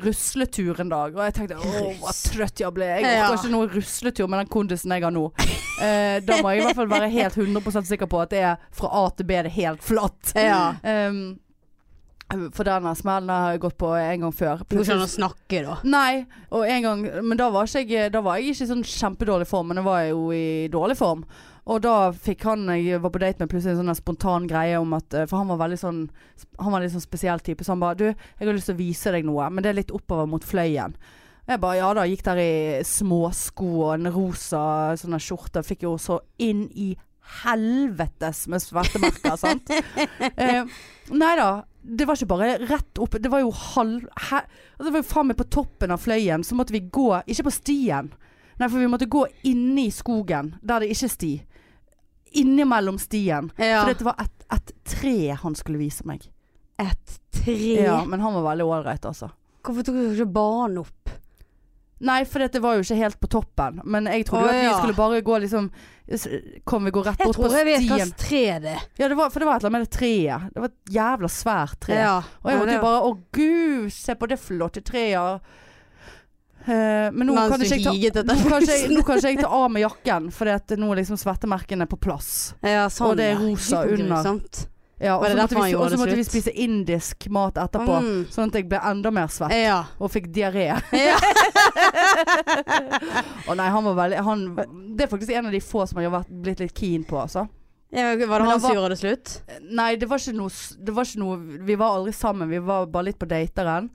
S2: rusletur en dag? Og jeg tenkte åh, hva trøtt jeg ble. Jeg
S3: Ja.
S2: orker ikke noe rusletur med den kondisen jeg har nå. Eh, da må jeg i hvert fall være helt 100 sikker på at det er fra A til B, det er helt flatt.
S3: Ja.
S2: Ehm, for denne smellen har jeg gått på en gang før.
S3: Det går ikke an å snakke, da.
S2: Nei, og en gang Men da var, ikke jeg, da var jeg ikke i sånn kjempedårlig form, men da var jeg jo i dårlig form. Og da fikk han jeg var på date med plutselig en sånn der spontan greie om at eh, For han var veldig sånn Han var litt sånn spesiell type, så han bare Du, jeg har lyst til å vise deg noe, men det er litt oppover mot fløyen. Og Jeg bare ja da, gikk der i småsko og en rosa sånn der skjorte. Fikk jo så inn i helvetes med svettemerker, sant. Eh, nei da. Det var ikke bare rett opp, det var jo halv... He, altså det var jo faen meg på toppen av fløyen, så måtte vi gå Ikke på stien, nei, for vi måtte gå inne i skogen, der det ikke er sti. Innimellom stien.
S3: Ja.
S2: For det var et, et tre han skulle vise meg.
S3: Et tre.
S2: Ja, men han var veldig ålreit, altså.
S3: Hvorfor tok dere ikke banen opp?
S2: Nei, for det var jo ikke helt på toppen. Men jeg trodde jo
S3: Å,
S2: at vi
S3: ja.
S2: skulle bare gå liksom s- Kom, vi går rett
S3: Jeg
S2: bort på
S3: tror jeg vet
S2: stien.
S3: hvilket tre det er.
S2: Ja, det var, for det var et eller annet med det treet. Det var et jævla svært tre.
S3: Ja.
S2: Og jeg
S3: Ja,
S2: måtte
S3: det-
S2: jo bare Å gud, se på det flotte treet. Eh, men nå
S3: Mens
S2: kan
S3: du
S2: ikke jeg ta
S3: higet etter
S2: nå kan ikke jeg-
S3: rosen.
S2: nå kan ikke jeg ta av meg jakken, for nå er liksom svettemerkene på plass.
S3: Ja, sånn,
S2: Og det er
S3: ja. liksom.
S2: rosa
S3: Gud,
S2: under.
S3: Grusomt.
S2: Ja, og
S3: Var
S2: så
S3: det
S2: måtte,
S3: derfor han
S2: vi,
S3: gjorde
S2: og så
S3: det
S2: måtte vi
S3: slutt?
S2: spise indisk mat etterpå,
S3: Mm. Eh.
S2: sånn at jeg ble enda mer svett
S3: Ja.
S2: og fikk diaré.
S3: Ja.
S2: Å nei, han var veldig han, Det er faktisk en av de få som jeg har vært, blitt litt keen på, altså.
S3: Ja, Var
S2: Men
S3: det
S2: han
S3: han som
S2: var-
S3: gjorde det slutt?
S2: Nei, det var ikke noe, s- det var ikke noe Vi var aldri sammen, vi var bare litt på dateren.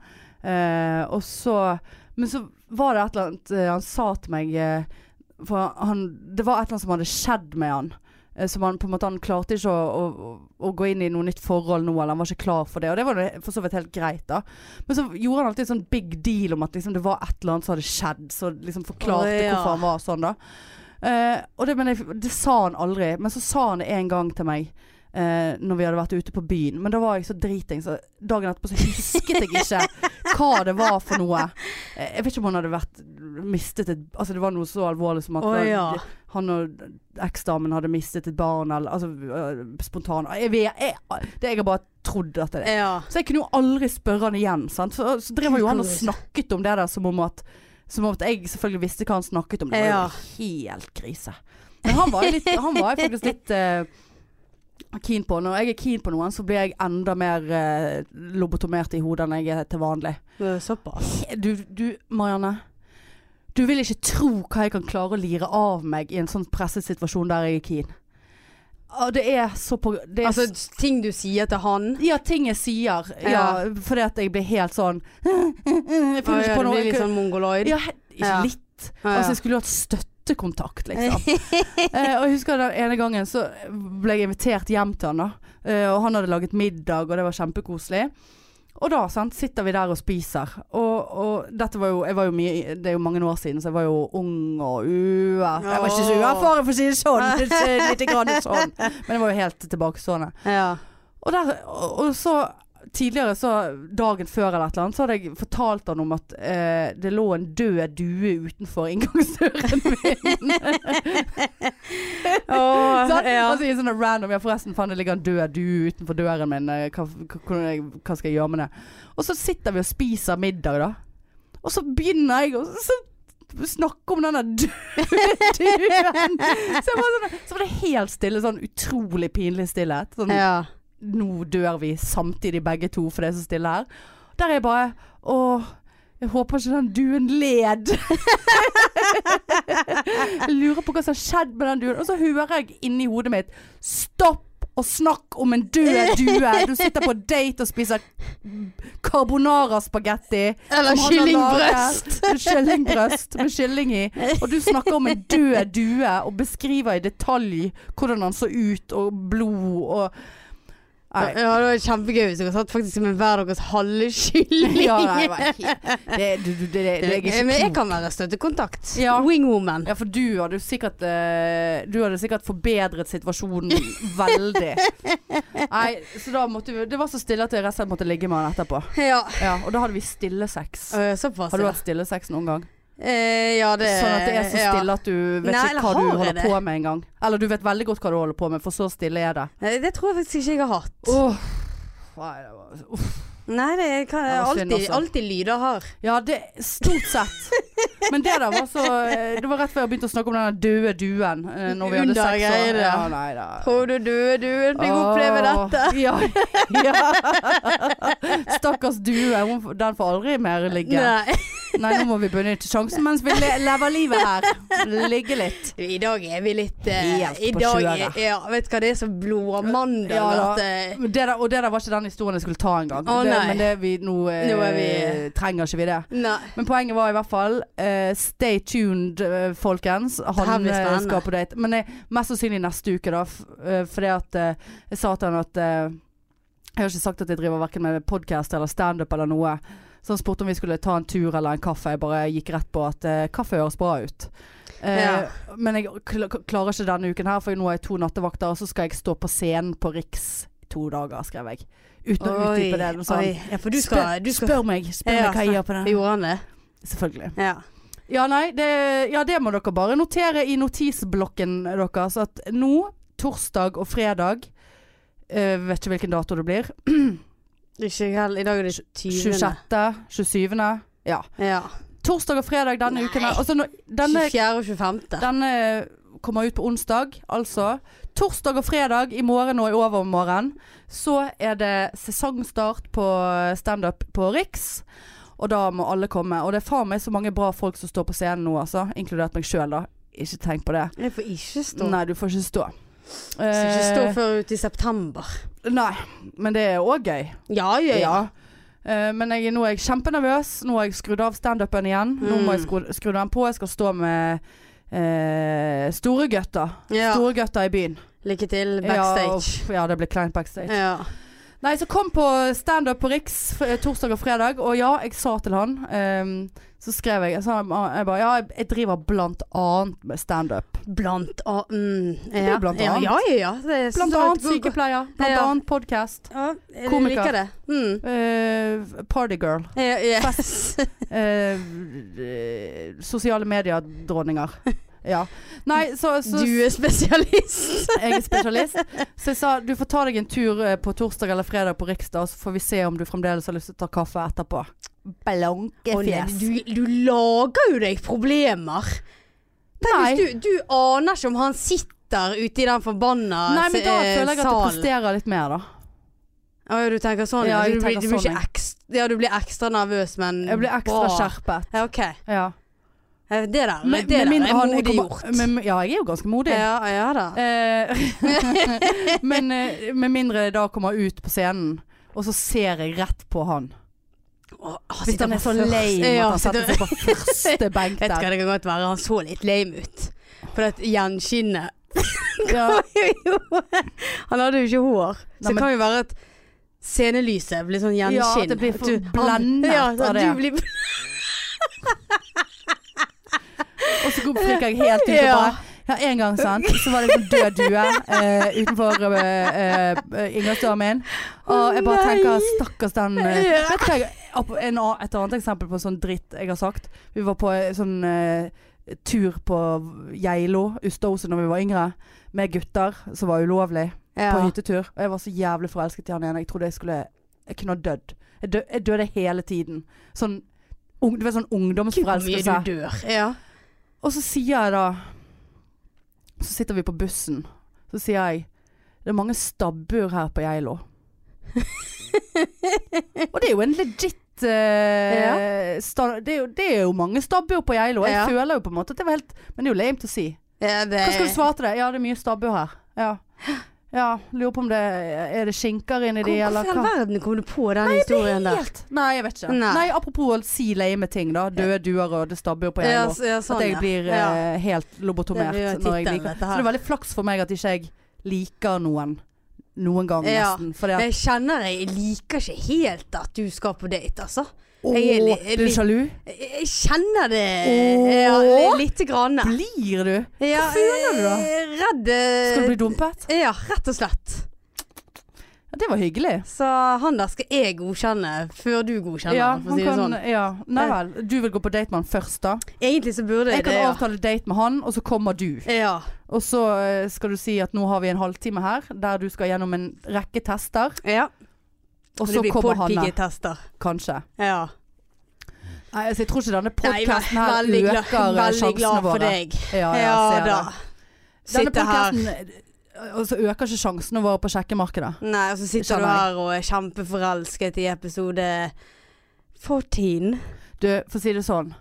S2: Eh, og så Men så var det et eller annet eh, han sa til meg eh, For han Det var et eller annet som hadde skjedd med han. Eh, Så man, på en måte, han klarte ikke å, å, å gå inn i noe nytt forhold nå, eller han var ikke klar for det. Og det var jo for så vidt helt greit, da. Men så gjorde han alltid en sånn big deal om at liksom, det var et eller annet som hadde skjedd, så liksom forklarte
S1: Å, ja.
S2: hvorfor han var sånn, da. Eh, og det, men jeg, det sa han aldri. Men så sa han det en gang til meg. eh, når vi hadde vært ute på byen. Men da var jeg så driting, så dagen etterpå så husket jeg ikke hva det var for noe. Eh, Jeg vet ikke om han hadde vært mistet et Altså det var noe så alvorlig som at
S1: Å, ja.
S2: han og eksdamen hadde mistet et barn, eller altså øh, spontan jeg, vet- jeg, Det jeg har bare trodd at det
S3: Ja.
S2: Så jeg kunne jo aldri spørre han igjen, sant. Så, så drev jo han og snakket om det der som om at som om at jeg selvfølgelig visste hva han snakket om. Det var
S3: Ja.
S2: jo helt krise. Men han var jo litt, han var jo faktisk litt eh, keen på. Når jeg er keen på noen, så blir jeg enda mer eh, lobotomert i hodet enn jeg er til vanlig.
S3: Såpass.
S2: Du, du Marianne. Du vil ikke tro hva jeg kan klare å lire av meg i en sånn presset situasjon der jeg er keen. Ah, Det er så på det er
S3: Altså, ting du sier til han
S2: ja, ting jeg sier. Ja, fordi at jeg blir helt sånn Jeg
S3: Å,
S2: føler
S3: ja,
S2: ikke på
S3: Du
S2: noe.
S3: blir litt sånn mongoloid.
S2: ja, he- ikke
S3: Ja.
S2: litt.
S3: Ja, ja.
S2: Altså, jeg skulle jo hatt støttekontakt, liksom. eh, og jeg husker den ene gangen så ble jeg invitert hjem til han, da. Eh, og han hadde laget middag, og det var kjempekoselig. Og da sant, sitter vi der og spiser. Og, og dette var jo, jeg var jo mye, i- det er jo mange år siden, så jeg var jo ung og uerfaren. Jeg var ikke så uerfaren, for å si det sånn. Ikke- Lite grann sånn. Men jeg var jo helt tilbakestående.
S3: ja.
S2: Og, der, og, og så tidligere, så dagen før eller et eller annet, så hadde jeg fortalt han om at eh, det lå en død due utenfor inngangsdøren min.
S3: Å,
S2: sånn?
S3: ja.
S2: Altså i sånne random Ja, forresten, faen, det ligger en død due utenfor døren min. eh, Hva, hva, hvordan- hva skal jeg gjøre med det? Og så sitter vi og spiser middag, da. Og så begynner jeg å så snakke om denne døde duen. Så, jeg var sånn, så var det helt stille, sånn utrolig pinlig stillhet. Sånn
S3: ja.
S2: nå dør vi samtidig begge to, for det er så stille her. Der er jeg bare Åh, jeg håper ikke den duen led. jeg lurer på hva som har skjedd med den duen. Og så hører jeg inni hodet mitt Stopp å snakke om en død due! Du sitter på date og spiser carbonara-spagetti. som
S3: Eller
S2: han har
S3: kyllingbrøst.
S2: laget. Kyllingbrøst med kylling i. Og du snakker om en død due og beskriver i detalj hvordan han så ut, og blod og
S3: Ja,
S2: Nei.
S3: det var kjempegøy hvis dere satt faktisk med hver deres halve kylling.
S2: Ja, nei, det var helt- det, du, du, det, det, det er ikke
S3: Men jeg
S2: klokt.
S3: kan være støttekontakt.
S2: Ja.
S3: Wingwoman.
S2: Ja, for du hadde jo sikkert eh, Du hadde sikkert forbedret situasjonen veldig. Nei, så da måtte vi Det var så stille at jeg rett og slett måtte ligge med han etterpå.
S3: Ja.
S2: Ja, og da hadde vi stillesex.
S3: Øh, Såpass.
S2: Har du
S3: ja.
S2: hatt stillesex noen gang?
S3: Eh, ja, det
S2: sånn at det er så stille at du vet
S3: Nei, eller
S2: ikke hva du
S3: har jeg
S2: holder
S3: det?
S2: på med engang. Eller du vet veldig godt hva du holder på med, for så stille er det.
S3: Ja. Nei, Det tror jeg faktisk ikke jeg har hatt.
S2: Åh, nei, det var, uff.
S3: Nei, det er kan,
S2: Det var synd
S3: alltid,
S2: også.
S3: alltid lyder har.
S2: Ja, det, stort sett. Men det der var så eh, Det var rett før jeg begynte å snakke om den døde duen. eh, Når vi hadde sex.
S3: Undergreier,
S2: og-
S3: ja.
S2: Ja, nei da.
S3: Tror du døde duen fikk oppleve
S2: Åh,
S3: dette?
S2: Ja. ja. Stakkars due. hun- Den får aldri mer ligge. Nei,
S3: Nei.
S2: nå må vi benytte sjansen mens vi le lever livet her. Ligge litt.
S3: I dag er vi litt eh,
S2: Helt
S3: I
S2: på
S3: dag
S2: kjøret.
S3: er, ja, Vet du hva, det er så blodamandag
S2: Ja, da.
S3: at eh,
S2: Men Det der, og det der var ikke den historien jeg skulle ta engang.
S3: Å,
S2: Det-
S3: nei.
S2: Men det vi, nå, eh,
S3: Nå er
S2: trenger ikke vi det.
S3: Nei.
S2: Men poenget var i hvert fall eh, Stay tuned, eh, folkens.
S3: her
S2: Han
S3: blir
S2: eh,
S3: spennende.
S2: skal på date. Men eh, mest sannsynlig neste uke, da. F eh, fordi at eh, jeg sa til han at eh, Jeg har ikke sagt at jeg driver verken med podkast eller standup eller noe. Så han spurte om vi skulle ta en tur eller en kaffe. Jeg bare gikk rett på at eh, kaffe høres bra ut. Eh,
S3: Ja.
S2: Men jeg kl klarer ikke denne uken her, for nå har jeg to nattevakter, og så skal jeg stå på scenen på Riks to dager, skrev jeg. Uten å utdype det. Men sånn,
S3: oi. Ja, for du skal,
S2: spør,
S3: du skal
S2: spør meg, spør
S3: Ja,
S2: meg hva jeg gjør på den.
S3: Gjorde han det?
S2: Selvfølgelig.
S3: Ja.
S2: Ja, nei, det, ja, det må dere bare notere i notisblokken deres at nå, torsdag og fredag eh, Vet ikke hvilken dato det blir.
S3: Ikke jeg heller. I dag er det
S2: 26.,
S3: 20.
S2: 27. Ja.
S3: Ja.
S2: Torsdag og fredag denne
S3: Nei.
S2: uken. her. Altså, nå- denne,
S3: 24. og 25.
S2: denne kommer ut på onsdag, altså. Torsdag og fredag i morgen og i overmorgen så er det sesongstart på standup på Riks. Og da må alle komme. Og det er faen meg så mange bra folk som står på scenen nå, altså. Inkludert meg sjøl, da. Ikke tenk på det.
S3: Jeg får ikke stå.
S2: Nei, du får ikke stå.
S3: Skal ikke stå
S2: Eh,
S3: før ut i september.
S2: Nei, men det er òg gøy.
S3: Ja, ja, ja.
S2: Eh, men jeg, nå er jeg kjempenervøs. Nå har jeg skrudd av standupen igjen. Nå må
S3: Mm.
S2: jeg skru, skru den på. Jeg skal stå med eh, store gutter.
S3: Ja.
S2: Store gutter i byen.
S3: Lykke til
S2: Ja,
S3: backstage.
S2: uff, ja, det ble kleint backstage.
S3: Ja.
S2: Nei, så kom på standup på Riks eh, torsdag og fredag, og ja, jeg sa til han ehm, Så skrev jeg, jeg sa, jeg bare Ja, jeg- jeg driver blant annet med standup.
S3: Blant annet mm,
S2: er jo
S3: ja.
S2: blant
S3: ja,
S2: annet.
S3: ja, ja, ja. Det er
S2: Blant
S3: så-
S2: annet sykepleier, blant
S3: Ja.
S2: annet podkast.
S3: Ja, jeg
S2: Komiker.
S3: liker det. Mm.
S2: Uh, Partygirl.
S3: Ja, ja.
S2: eh, eh, sosiale medier-dronninger. Ja. Nei, så, så
S3: Du er spesialist.
S2: Jeg er spesialist. Så jeg sa du får ta deg en tur eh, på torsdag eller fredag på Riksdag, så får vi se om du fremdeles har lyst til å ta kaffe etterpå.
S3: Å, nei,
S2: Blankefjes.
S3: du, du lager jo deg problemer.
S2: Nei.
S3: Hvis du, du aner ikke om han sitter ute i den forbanna
S2: Nei, men da
S3: eh,
S2: føler jeg at jeg
S3: salen.
S2: presterer litt mer, da.
S3: Å, ja, du tenker sånn?
S2: Ja,
S3: Ja,
S2: jeg
S3: du, blir,
S2: tenker
S3: du, blir
S2: sånn,
S3: ikke ekstra, ja, du blir ekstra nervøs, men
S2: Jeg blir ekstra
S3: bra.
S2: skjerpet.
S3: Ja, OK. Eh,
S2: Ja.
S3: Det der,
S2: Med- med
S3: det der
S2: mindre
S3: er
S2: han- jeg
S3: modig
S2: kommer-
S3: gjort.
S2: men- ja, jeg er jo ganske modig.
S3: Ja, ja da.
S2: Eh, men eh, med mindre jeg da kommer ut på scenen, og så ser jeg rett på han.
S3: Å, han
S2: Hvis
S3: sitter
S2: han er
S3: på
S2: så
S3: først-
S2: lame
S3: Ja,
S2: at han setter
S3: sitter-
S2: seg på første benk
S3: Vet du hva,
S2: der.
S3: det kan godt være han så litt lame ut. For at gjenskinnet
S2: Ja.
S3: Han hadde jo ikke hår. Så
S2: Nei, men-
S3: det kan jo være at scenelyset blir sånn gjenskinn.
S2: Ja, at det blir
S3: At du-
S2: forblendet
S3: ja,
S2: av
S3: at
S2: det.
S3: Du blir,
S2: Og så går- flikker jeg helt ut og
S3: Ja.
S2: bare Ja, en gang sant, så var det en død due eh, utenfor eh, eh, inngangsdøren min. Og jeg bare
S3: Nei.
S2: tenker stakkars den eh,
S3: Ja.
S2: Vet du hva, jeg, opp- en, a- et annet eksempel på sånn dritt jeg har sagt. Vi var på eh, sånn eh, tur på Geilo, Ustaoset, når vi var yngre. Med gutter, som var ulovlig, på
S3: ja.
S2: hyttetur. Og jeg var så jævlig forelsket i han ene. Jeg trodde jeg skulle Jeg kunne ha dødd. Jeg, dø, jeg døde hele tiden. Sånn, ung, du vet, sånn
S3: Gud, hvor mye
S2: ungdomsforelskelse.
S3: du dør. Ja.
S2: Og så sier jeg da Så sitter vi på bussen. Så sier jeg Det er mange stabbur her på Geilo. og det er jo en legit eh, sta, det, er jo, det er jo mange stabbur på Geilo. Jeg
S3: Ja.
S2: føler jo på en måte at det var helt Men det er jo lame å si.
S3: Ja, det,
S2: Hva skal du svare til det? Ja, det er mye stabbur her. Ja. ja. Lurer på om det Er det skinker inni de,
S3: Hvorfor
S2: eller
S3: i all
S2: hva?
S3: verden kom du på den historien der?
S2: Helt. Nei, jeg vet ikke. Nei,
S3: Nei.
S2: apropos å si lame ting, da. Døde duer og det er stabbur på
S3: Ja,
S2: Geilo.
S3: s- ja, sånn,
S2: At jeg
S3: ja.
S2: blir
S3: ja.
S2: eh, helt lobotomert
S3: Det blir jo
S2: når jeg
S3: tittelen,
S2: liker
S3: dette
S2: Så
S3: her.
S2: det er veldig flaks for meg at ikke jeg liker noen noen gang,
S3: Ja.
S2: nesten. Fordi at
S3: Jeg kjenner jeg liker ikke helt at du skal på date, altså. jeg er
S2: Åh,
S3: li-
S2: er du
S3: litt-
S2: sjalu?
S3: Jeg jeg kjenner det
S2: Åh.
S3: ja, lite grann. Ja,
S2: Blir du?
S3: Hvorfor
S2: gjør du da?
S3: Redd eh,
S2: Skal du bli dumpet?
S3: Ja, rett og slett.
S2: Ja, det var hyggelig.
S3: Så han der skal jeg godkjenne før du godkjenner,
S2: Ja,
S3: for å
S2: han
S3: si det
S2: kan,
S3: sånn.
S2: ja. Nei vel. Du vil gå på date med han først, da?
S3: Egentlig så burde jeg,
S2: Jeg kan
S3: det, ja.
S2: avtale date med han, og så kommer du.
S3: Ja.
S2: Og så eh, skal du si at nå har vi en halvtime her, der du skal gjennom en rekke tester.
S3: ja.
S2: Og så kommer han der,
S3: tester
S2: kanskje.
S3: Ja.
S2: Nei, altså, jeg tror ikke denne
S3: Nei, ve-
S2: podkasten her
S3: veldig glad-
S2: øker eh,
S3: Veldig glad
S2: sjansene
S3: for
S2: våre.
S3: deg.
S2: Ja,
S3: Ja,
S2: jeg ser
S3: da.
S2: det. Denne
S3: Sitter her.
S2: podcasten, Og så øker ikke sjansene våre på sjekkemarkedet.
S3: Nei, og så sitter du
S2: Skjønner jeg.
S3: her og er kjempeforelsket i episode 14.
S2: Du, for å si det sånn.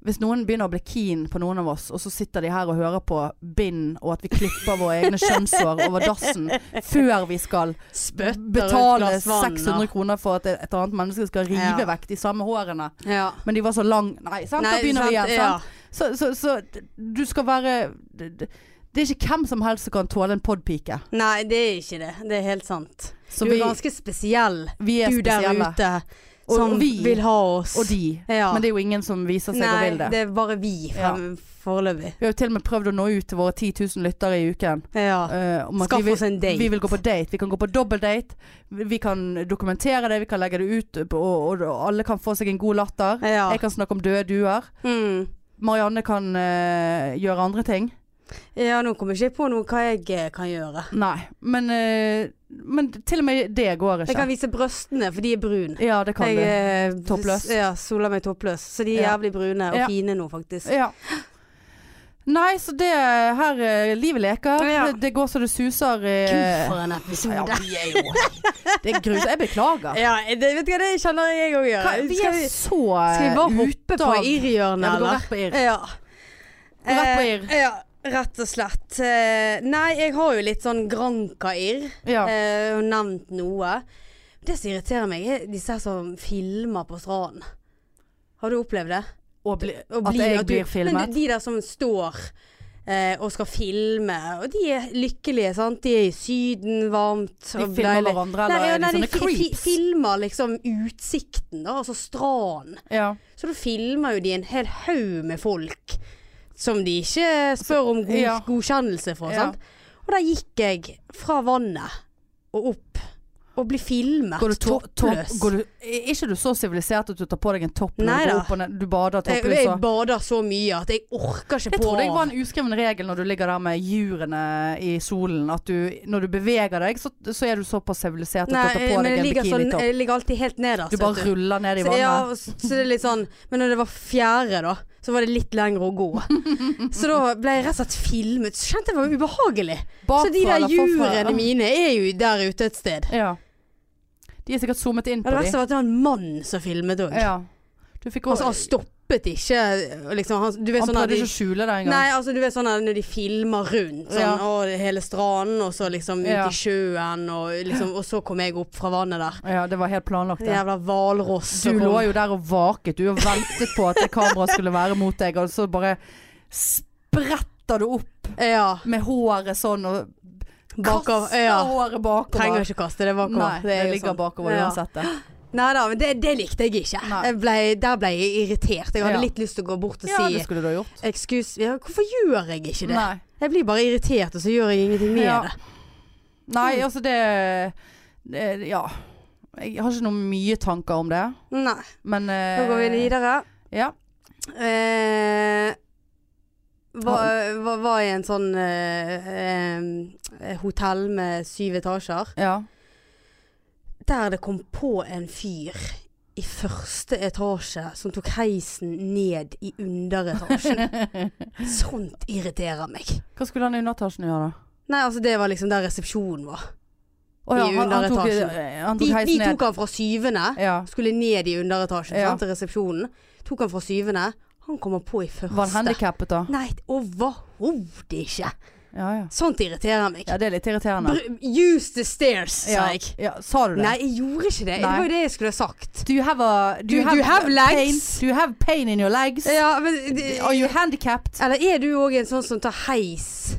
S2: Hvis noen begynner å bli keen på noen av oss, og så sitter de her og hører på bind, og at vi klipper våre egne kjønnshår over dassen før vi skal
S3: Spytter
S2: betale
S3: ut glass vann,
S2: 600 kroner for at et annet menneske skal rive
S3: Ja.
S2: vekk de samme hårene.
S3: og- Ja.
S2: Men de var så lang Nei, sant? da begynner vi igjen. Sant? Så, så, så d- du skal være d- d- Det er ikke hvem som helst som kan tåle en podpike.
S3: Ja. Nei, det er ikke det. Det er helt sant.
S2: Så
S3: Du er
S2: vi,
S3: ganske spesiell,
S2: vi er
S3: du der
S2: spesielle.
S3: ute
S2: Og-
S3: som
S2: og vi.
S3: vil ha oss.
S2: Og de.
S3: Ja.
S2: Men det er jo ingen som viser seg og
S3: Nei,
S2: vil det.
S3: det er bare vi frem, foreløpig.
S2: Vi har jo til og med prøvd å nå ut til våre 10 000 lyttere i uken.
S3: Ja.
S2: eh, om at
S3: Skaff
S2: vi vil,
S3: oss en date.
S2: Vi vil gå på date. Vi kan gå på dobbeltdate. Vi vi kan dokumentere det, vi kan legge det ut, og, og, og alle kan få seg en god latter.
S3: Ja.
S2: Jeg kan snakke om døde duer.
S3: Mm.
S2: Marianne kan eh, gjøre andre ting.
S3: Ja, nå kommer ikke jeg på noe hva jeg eh, kan gjøre.
S2: Nei, men, eh, men til og med det går
S3: Jeg
S2: ikke.
S3: kan vise brøstene, for de er brune.
S2: Ja, det kan
S3: Jeg eh, er
S2: Toppløs.
S3: Ja, soler meg toppløs. Så de er
S2: Ja.
S3: jævlig brune og
S2: Ja.
S3: fine nå, faktisk.
S2: du. Ja. Nei, så det her eh, Livet leker.
S3: Ja.
S2: Det, det går så det suser.
S3: Gud,
S2: eh,
S3: for en episode.
S2: vi er jo Det er grusomt. Jeg beklager.
S3: Ja, det, vet du hva, det kjenner jeg òg gjør.
S2: Hva, vi
S3: Skal
S2: er
S3: vi,
S2: så
S3: skal vi bare
S2: eh,
S3: hoppe
S2: ute
S3: på
S2: av- Ja,
S3: irrhjørnet,
S2: vi går
S3: eller?
S2: rett på irr.
S3: Ja.
S2: Gå rett på
S3: Eh,
S2: irr.
S3: Ja, rett og slett. Eh, Nei, jeg har jo litt sånn Granca-irr.
S2: Ja.
S3: Eh, og nevnt noe. Det som irriterer meg, er disse her som filmer på stranden. Har du opplevd det?
S2: Og bli,
S3: Å
S2: at
S3: bli-
S2: jeg
S3: du-
S2: blir
S3: Men
S2: filmet.
S3: de der som står eh, og skal filme. Og de er lykkelige, sant. De er i Syden, varmt.
S2: De
S3: og
S2: filmer
S3: deilig.
S2: hverandre, eller liksom
S3: Nei,
S2: er det
S3: nei,
S2: sånne
S3: de fi- fi-
S2: creeps?
S3: filmer liksom utsikten, da. Altså stranden.
S2: Ja.
S3: Så da filmer jo de en hel haug med folk som de ikke spør om god,
S2: Ja.
S3: godkjennelse fra.
S2: Ja.
S3: Sant? Og der gikk jeg fra vannet og opp og ble filmet
S2: Går du to
S3: toppløs.
S2: topp- går du, er ikke du så sivilisert at du tar på deg en topplue
S3: Nei
S2: og
S3: da.
S2: går opp og ned? Du bader
S3: jeg,
S2: toppløs
S3: jeg
S2: og
S3: bader så mye at jeg orker ikke
S2: Jeg
S3: på
S2: trodde jeg var en uskreven regel når du ligger der med jurene i solen, at du, når du beveger deg, så, så er du såpass sivilisert at
S3: Nei,
S2: du tar på
S3: men
S2: deg
S3: jeg
S2: en
S3: ligger, sånn,
S2: bikinitopp.
S3: jeg ligger alltid helt nederst.
S2: Du bare
S3: vet
S2: ruller ned i
S3: Så, ja,
S2: vannet.
S3: og s- så det er litt sånn Men når det var fjerde, da, så var det litt lengre å gå. så da ble jeg rett og slett filmet. Så kjente jeg det var ubehagelig.
S2: Bakfra
S3: så de der
S2: eller forfra?
S3: jurene mine er jo der ute et sted.
S2: Ja. De er sikkert zoomet inn
S3: Ja,
S2: på
S3: det
S2: de.
S3: verste var at det var en mann som filmet òg.
S2: Ja. Du fikk
S3: Altså,
S2: også
S3: han stoppet ikke liksom, han, du vet,
S2: Han
S3: sånn at
S2: prøvde
S3: de,
S2: ikke å skjule det engang.
S3: Nei, altså, du vet sånn at når de filmer rundt sånn,
S2: Ja.
S3: og hele stranden, og så liksom ut
S2: Ja.
S3: i sjøen, og, liksom, og så kom jeg opp fra vannet der.
S2: Ja, det var helt planlagt.
S3: En
S2: Det.
S3: jævla hvalross.
S2: Du
S3: som kom.
S2: lå jo der og vaket, du, og ventet på at det kameraet skulle være mot deg, og så bare spretter du opp
S3: Ja.
S2: med håret sånn og
S3: Bakover.
S2: kaster
S3: Ja.
S2: håret bakover.
S3: Trenger ikke kaste det bakover.
S2: Nei, det,
S3: er jo
S2: ligger
S3: sånn.
S2: bakover
S3: Ja.
S2: uansett. det.
S3: Nei da, men det, det likte jeg ikke.
S2: Nei.
S3: Jeg ble, der ble jeg irritert. Jeg hadde
S2: Ja.
S3: litt lyst til å gå bort og
S2: Ja,
S3: si
S2: det skulle du ha gjort.
S3: Excuse ja, Hvorfor gjør jeg ikke det?
S2: Nei.
S3: Jeg blir bare irritert, og så gjør jeg ingenting med
S2: Ja.
S3: det.
S2: Nei,
S3: Mm.
S2: altså det, det Ja. Jeg har ikke noe mye tanker om det,
S3: Nei.
S2: men eh,
S3: Nå går vi videre.
S2: Ja.
S3: Eh, var, var, var i en sånn eh, eh, hotell med syv etasjer.
S2: ja.
S3: Der det kom på en fyr i første etasje som tok heisen ned i underetasjen. Sånt irriterer meg.
S2: Hva skulle han i undertasjen gjøre, da?
S3: Nei, altså det var liksom der resepsjonen var.
S2: Å ja,
S3: I
S2: han, han tok, eh,
S3: underetasjen.
S2: han
S3: De,
S2: tok
S3: de
S2: heisen ned.
S3: tok han fra syvende,
S2: Ja.
S3: skulle ned i underetasjen,
S2: Ja.
S3: sant, til resepsjonen. Tok han fra syvende, han kommer på i første.
S2: Var han handikappet, da?
S3: Nei, overhodet ikke.
S2: Ja, ja.
S3: Sånt irriterer meg.
S2: ja, det er litt irriterende.
S3: Br use the stairs,
S2: ja.
S3: sa jeg.
S2: Ja, sa du det?
S3: Nei, jeg gjorde ikke det. Det
S2: Nei.
S3: var jo det jeg skulle ha sagt.
S2: Do you have a
S3: Do- do you have legs? Eh,
S2: Pain, do you have pain in your legs?
S3: Ja, men det-
S2: Are you handicapped?
S3: Eller er du òg en sånn som tar heis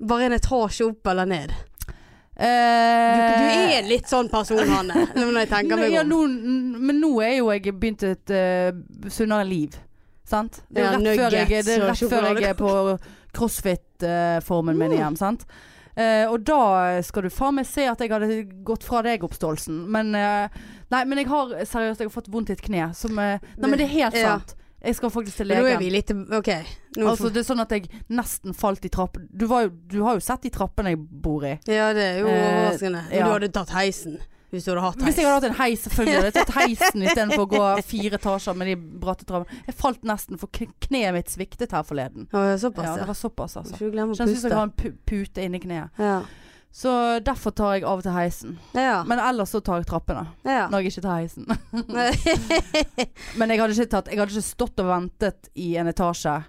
S3: bare en etasje opp eller ned?
S2: Eh,
S3: Du, eh, du er en litt sånn person, Hanne, når jeg tenker meg
S2: ja,
S3: om.
S2: nå, n- Men nå er jo jeg begynt et eh, sunnere liv. Sant? Det er
S3: Ja,
S2: jo rett før jeg, det er
S3: nuggets
S2: rett
S3: og
S2: før jeg er på crossfit-formen min igjen. Sant? Eh, og da skal du faen meg se at jeg hadde gått fra deg oppståelsen. Men eh, Nei, men jeg har seriøst jeg har fått vondt i et kne. Som, eh, nei, men det er helt
S3: Ja.
S2: sant. Jeg skal faktisk til
S3: Men nå er
S2: legen.
S3: vi litt OK. Nå
S2: Altså, det er sånn at jeg nesten falt i trappen. Du, var jo, du har jo sett de trappene jeg bor i.
S3: Ja, det er jo
S2: Eh,
S3: overraskende. Men
S2: ja.
S3: du hadde tatt heisen hvis du hadde hatt heis.
S2: Hvis jeg hadde hatt en heis, selvfølgelig hadde jeg tatt heisen istedenfor å gå fire etasjer med de bratte trappene. Jeg falt nesten, for kn- kneet mitt sviktet her forleden.
S3: Ja, såpass,
S2: Ja,
S3: ja.
S2: det var såpass, altså.
S3: Ikke glem å
S2: Jeg syns jeg
S3: puste.
S2: har en pu- pute inni kneet.
S3: Ja.
S2: Så derfor tar jeg av og til heisen.
S3: Ja.
S2: Men ellers så tar jeg trappene.
S3: ja.
S2: Når jeg ikke tar heisen.
S3: Nei.
S2: Men jeg hadde ikke, tatt, jeg hadde ikke stått og ventet i en etasje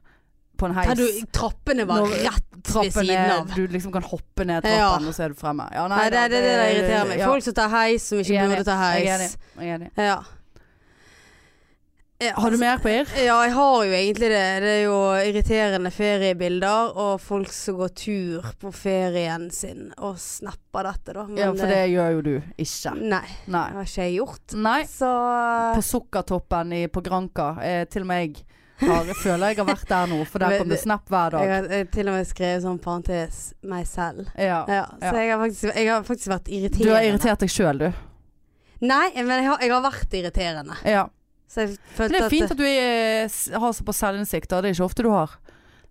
S2: på en heis.
S3: Der du, trappene var
S2: Når
S3: rett ved
S2: Trappen
S3: siden
S2: er,
S3: av.
S2: du liksom kan hoppe ned trappen, og så er du fremme. Ja,
S3: Nei, det er det, det, der irriterer meg.
S2: ja.
S3: Folk som tar heis, som ikke
S2: Jeg er
S3: burde ta
S2: enig. Jeg er
S3: heis.
S2: enig. Jeg er enig.
S3: Ja. Ja,
S2: Har du mer på ir?
S3: Ja, jeg har jo egentlig det. Det er jo irriterende feriebilder og folk som går tur på ferien sin og snapper dette, da. Men eh,
S2: Ja, for det gjør jo du ikke.
S3: Nei,
S2: Nei.
S3: det har ikke jeg gjort.
S2: Nei.
S3: Så
S2: På Sukkertoppen i, på Granca. Eh, til og med jeg har, føler jeg har vært der nå, for der
S3: Men
S2: kom det
S3: det-
S2: snap hver
S3: jeg
S2: dag.
S3: har eh, til og med skrevet sånn parentes meg selv.
S2: Ja.
S3: Ja, så jeg har faktisk, jeg har faktisk vært irriterende.
S2: Du har irritert deg sjøl, du.
S3: Nei, men jeg har, jeg har vært irriterende.
S2: Ja.
S3: Så jeg
S2: Men
S3: følte
S2: det er fint at du er, s- har såpass selvinnsikt, da. Det er ikke ofte du har.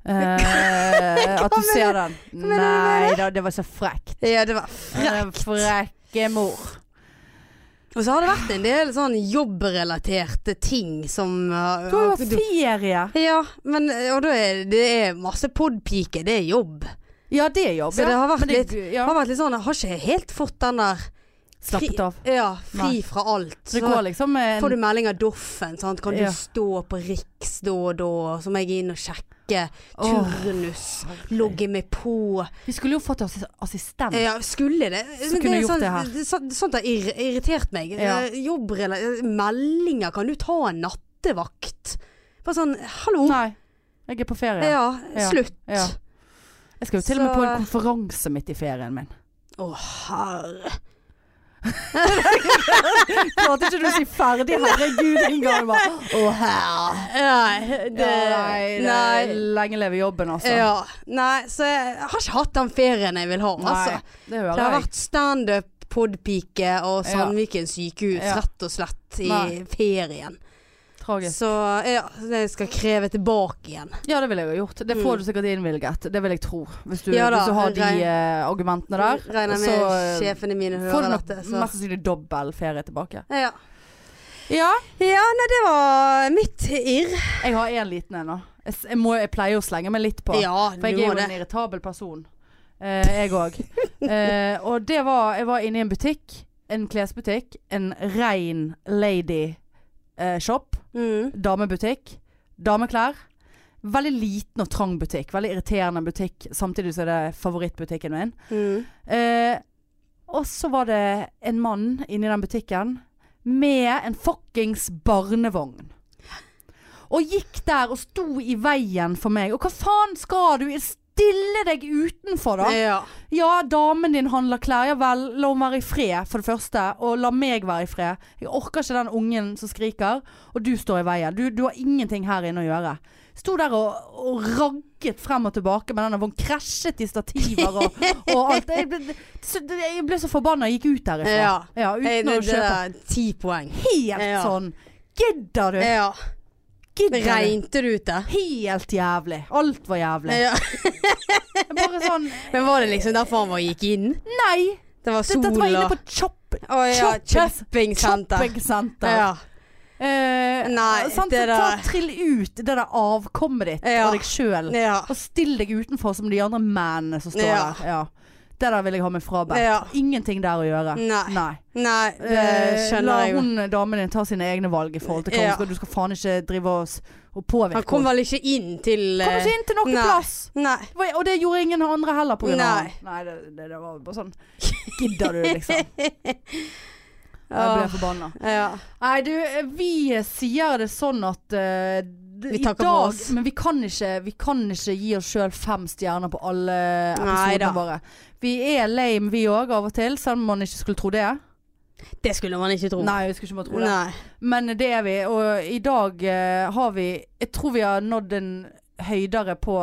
S2: Eh, at du ser den.
S3: mener du med
S2: Nei da, det var så frekt.
S3: Ja, det var
S2: Eh,
S3: frekt.
S2: Frekke mor.
S3: Og så har det vært en del sånn jobbrelaterte ting som eh,
S2: Du har jo
S3: har-
S2: hatt ferie.
S3: Ja, men, og da er det er masse podpike, det er jobb.
S2: Ja, det er jobb.
S3: Så
S2: ja.
S3: det har vært
S2: Men
S3: Jeg
S2: ja.
S3: har vært litt sånn, jeg har ikke helt fått den der
S2: Slappet av.
S3: ja, fri fra alt.
S2: Så det
S3: Så
S2: går liksom med
S3: får du
S2: en
S3: melding av Doffen, sant? kan du
S2: Ja.
S3: stå på Riks da og da, så må jeg inn og sjekke
S2: Åh,
S3: turnus, logge meg på.
S2: Vi skulle jo fått assis- assistent.
S3: Ja, skulle det? Men
S2: kunne
S3: er
S2: jeg gjort
S3: sånn,
S2: det her.
S3: det er sånn- Sånt har irr- irritert meg.
S2: Ja.
S3: Eh, Jobbrela, meldinger, kan du ta en nattevakt? Bare sånn, hallo,
S2: Nei. Jeg er på ferie.
S3: Ja,
S2: Ja.
S3: slutt. Å,
S2: Ja. Jeg skal jo til og med
S3: Så-
S2: på en konferanse midt i ferien min.
S3: herre.
S2: Klarte ikke du å si ferdig, herregud, en gang bare Å, her.
S3: Nei, det,
S2: nei,
S3: nei,
S2: Lenge leve jobben, altså.
S3: Ja. Nei, så jeg har ikke hatt den ferien jeg vil ha,
S2: Nei,
S3: altså.
S2: det
S3: Det
S2: hører
S3: har
S2: jeg.
S3: vært standup, podpike og
S2: Ja.
S3: Sandviken sykehus,
S2: Ja.
S3: rett og slett, i
S2: Nei.
S3: ferien.
S2: Tragisk.
S3: Så ja, jeg skal kreve tilbake igjen.
S2: Ja, det ville jeg jo gjort. Det får
S3: Mm.
S2: du sikkert innvilget. Det vil jeg tro. Hvis du,
S3: Ja da,
S2: hvis du har de
S3: regn-
S2: eh, argumentene der.
S3: Mm, Regner med
S2: så, eh,
S3: sjefene mine
S2: Får
S3: hører
S2: du nok
S3: dette.
S2: mest
S3: Så.
S2: sannsynlig dobbel ferie tilbake.
S3: Ja.
S2: Ja.
S3: ja, nei, det var mitt irr.
S2: Jeg har en liten en nå. Jeg, s- jeg, må, jeg pleier å slenge meg litt på.
S3: Ja,
S2: For jeg er jo en irritabel person. Eh, jeg òg. Eh, og det var Jeg var inne i en butikk. En klesbutikk. En rein lady-shop.
S3: Mm.
S2: damebutikk. Dameklær. Veldig liten og trang butikk. Veldig irriterende butikk. Samtidig så er det favorittbutikken min.
S3: Mm.
S2: Eh, og så var det en mann inni den butikken med en fuckings barnevogn. Og gikk der og sto i veien for meg. Og hva faen skal du? Stille deg utenfor, da.
S3: Ja.
S2: Ja, damen din handler klær. Ja vel, la henne være i fred, for det første. Og la meg være i fred. Jeg orker ikke den ungen som skriker, og du står i veien. Du, du har ingenting her inne å gjøre. Sto der og, og ragget frem og tilbake med denne vognen. Krasjet i stativer og, og alt. Jeg ble, så, jeg ble så forbanna. Jeg gikk ut derifra.
S3: Ja.
S2: uten
S3: Hey, det,
S2: å
S3: det
S2: kjøpe.
S3: er ti poeng.
S2: Helt
S3: Ja.
S2: sånn. Gidder du?
S3: Ja.
S2: Gidder du?
S3: Regnet du ut det?
S2: Helt jævlig. Alt var jævlig.
S3: Ja.
S2: Bare sånn
S3: Men var det liksom derfor han var gikk inn?
S2: Nei!
S3: Det var
S2: Dette,
S3: sol
S2: dette var inne
S3: og
S2: på Chop.
S3: Å ja,
S2: Choppes-
S3: Shopping-senter.
S2: Shopping-senter.
S3: Ja.
S2: Eh,
S3: Nei,
S2: sant?
S3: det
S2: Så
S3: der-
S2: Ta, trill ut det der avkommet ditt
S3: Ja.
S2: av deg sjøl.
S3: ja.
S2: Og still deg utenfor som de andre mennene som står
S3: Ja.
S2: der. Ja. Det der vil jeg ha meg frabedt.
S3: Ja.
S2: Ingenting der å gjøre.
S3: Nei.
S2: Nei.
S3: Nei, det
S2: Eh, La
S3: skjønner jeg jo.
S2: hun damen din ta sine egne valg i forhold til hva
S3: Ja.
S2: hun skal. Du skal faen ikke drive og, s- og påvirke
S3: Han kom vel ikke inn til
S2: Kom
S3: eh,
S2: ikke inn til noen
S3: Nei.
S2: plass!
S3: Nei.
S2: Det var- Og det gjorde ingen andre heller på grunn av
S3: Nei.
S2: han. Nei, det, det, det var bare sånn Gidder du, liksom? Jeg ble
S3: Åh,
S2: forbanna.
S3: ja.
S2: Nei, du, eh, vi sier det sånn at eh, d-
S3: Vi
S2: i
S3: takker for
S2: dag-
S3: oss.
S2: Men vi kan ikke, vi kan ikke gi oss sjøl fem stjerner på alle
S3: Neida.
S2: episodene våre. Vi er lame vi òg av og til, selv om man ikke skulle tro det.
S3: Det skulle man ikke tro.
S2: Nei, jeg skulle ikke bare tro det.
S3: Nei.
S2: Men det er vi. Og i dag eh, har vi Jeg tror vi har nådd en høydere på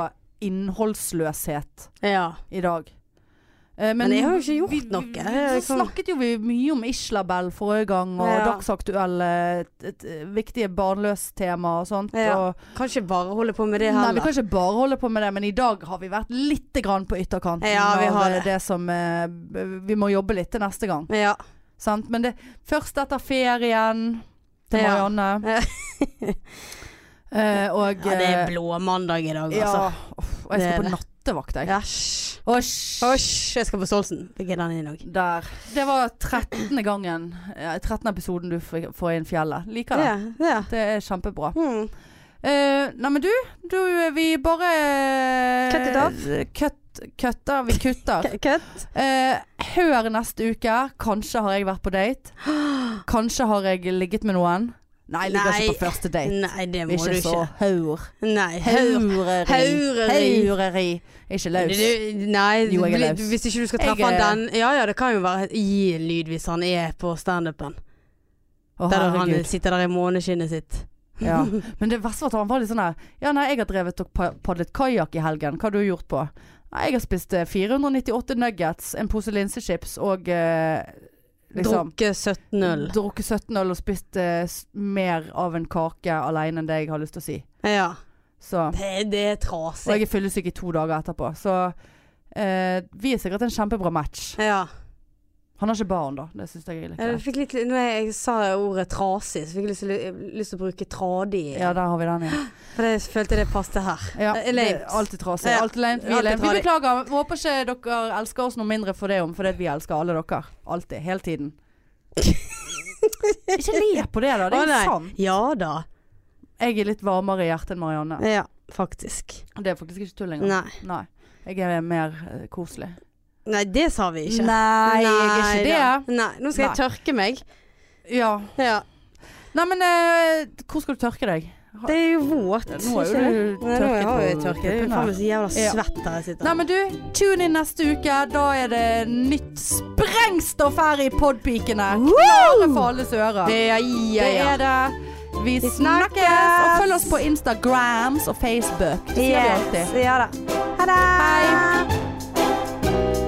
S2: innholdsløshet
S3: Ja.
S2: i dag. Eh,
S3: Men jeg har jo ikke gjort noe.
S2: Vi,
S3: Jeg
S2: så
S3: kan-
S2: snakket jo vi mye om Islabel forrige gang, og
S3: Ja.
S2: dagsaktuelle et, et, viktige barnløstema og sånt.
S3: Ja,
S2: og,
S3: Kan ikke bare holde på med det
S2: nei, vi
S3: heller.
S2: kan ikke bare holde på med det, men i dag har vi vært litt grann på ytterkanten
S3: Ja, vi har
S2: av eh,
S3: det.
S2: det som eh, Vi må jobbe litt til neste gang.
S3: Ja.
S2: Sant? Men det, først etter ferien til
S3: Ja.
S2: Marianne.
S3: Ja.
S2: Eh, og
S3: ja, det er
S2: eh,
S3: blå mandag i dag, altså.
S2: ja, uff, og jeg
S3: Det er
S2: skal på
S3: det.
S2: nattevakt, jeg.
S3: Æsj.
S2: Åsj.
S3: Æsj. Jeg skal på Stolsen. Fikk jeg den inn òg?
S2: Der. Det var 13. gangen eh, 13. episoden du f- får inn fjellet. Liker det.
S3: Ja. ja.
S2: Det er kjempebra.
S3: Mm.
S2: Uh, Neimen du, du, vi bare eh,
S3: Cut it off.
S2: Cut, cutter. Vi kutter.
S3: K- Kødd?
S2: Eh, hør neste uke. Kanskje har jeg vært på date. Kanskje har jeg ligget med noen. Nei, jeg ligger
S3: Nei.
S2: ikke på første date.
S3: Nei, det må
S2: Ikke,
S3: du
S2: så
S3: ikke.
S2: haur.
S3: Nei. Hør.
S2: Haureri.
S3: Haureri.
S2: Haureri. Ikke
S3: Du,
S2: løs.
S3: du- nei,
S2: Jo, jeg er
S3: bli-
S2: laus.
S3: hvis ikke du skal
S2: Jeg
S3: treffe han
S2: er-
S3: den Ja ja, det kan jo være Gi en lyd hvis han er på standupen.
S2: Å,
S3: Der han
S2: herregud.
S3: sitter der i måneskinnet sitt.
S2: Ja. Men det verste var at han var litt sånn her Ja, nei, jeg har drevet og pa- padlet kajakk i helgen. Hva har du gjort på? Nei, jeg har spist eh, 498 nuggets, en pose linsechips og eh, liksom
S3: Drukke 17 øl.
S2: Drukket 17 øl og spist eh, s- mer av en kake aleine enn det jeg har lyst til å si.
S3: Ja.
S2: Så
S3: Det, det er
S2: Og
S3: trasig.
S2: jeg er fyllesyk i to dager etterpå. Så eh, vi er sikkert en kjempebra match.
S3: Ja.
S2: Han har ikke barn, da. Det syns jeg er litt
S3: Jeg
S2: greit.
S3: fikk litt, når jeg sa ordet trasig, så fikk jeg lyst til, jeg- lyst til å bruke tradig.
S2: Ja, der har vi den igjen.
S3: For det følte jeg det passet her.
S2: Ja,
S3: Det er
S2: det
S3: lame.
S2: er alltid trasig.
S3: Ja,
S2: Eh, Alltid lame. Vi, er
S3: alltid
S2: lame. vi
S3: trasig.
S2: beklager. Vi håper ikke dere elsker oss noe mindre for det om, fordi vi elsker alle dere. Alltid. Hele tiden. ikke le på det, da. Det
S3: Å,
S2: er
S3: nei.
S2: jo sant.
S3: Ja da.
S2: Jeg er litt varmere i hjertet enn Marianne.
S3: Ja, faktisk.
S2: Og Det er faktisk ikke tull engang.
S3: Nei.
S2: Nei. Jeg er mer eh, koselig.
S3: Nei, det sa vi ikke.
S2: Nei, jeg er
S3: Nei
S2: ikke
S3: da.
S2: det.
S3: Nei, nå skal jeg tørke meg.
S2: Ja.
S3: Ja.
S2: Nei, men eh, hvor skal du tørke deg?
S3: Det er jo våt.
S2: Ja, nå har jo
S3: ikke
S2: du
S3: det? Nei, nå
S2: tørket
S3: har jeg
S2: på
S3: tørket. Det er
S2: puppene.
S3: faen meg så jævla
S2: Ja.
S3: svett her jeg sitter.
S2: Nei, men du, tune inn neste uke. Da er det nytt sprengstoff her i podpikene. Klare for alles ører.
S4: Ja, ja, ja.
S2: Det er det. Vi
S3: Vi
S2: snakkes!
S3: snakkes!
S2: Og følg oss på Instagrams og Facebook. Det sier vi alltid.
S3: Yes, ja da. Ha det!
S2: Hei.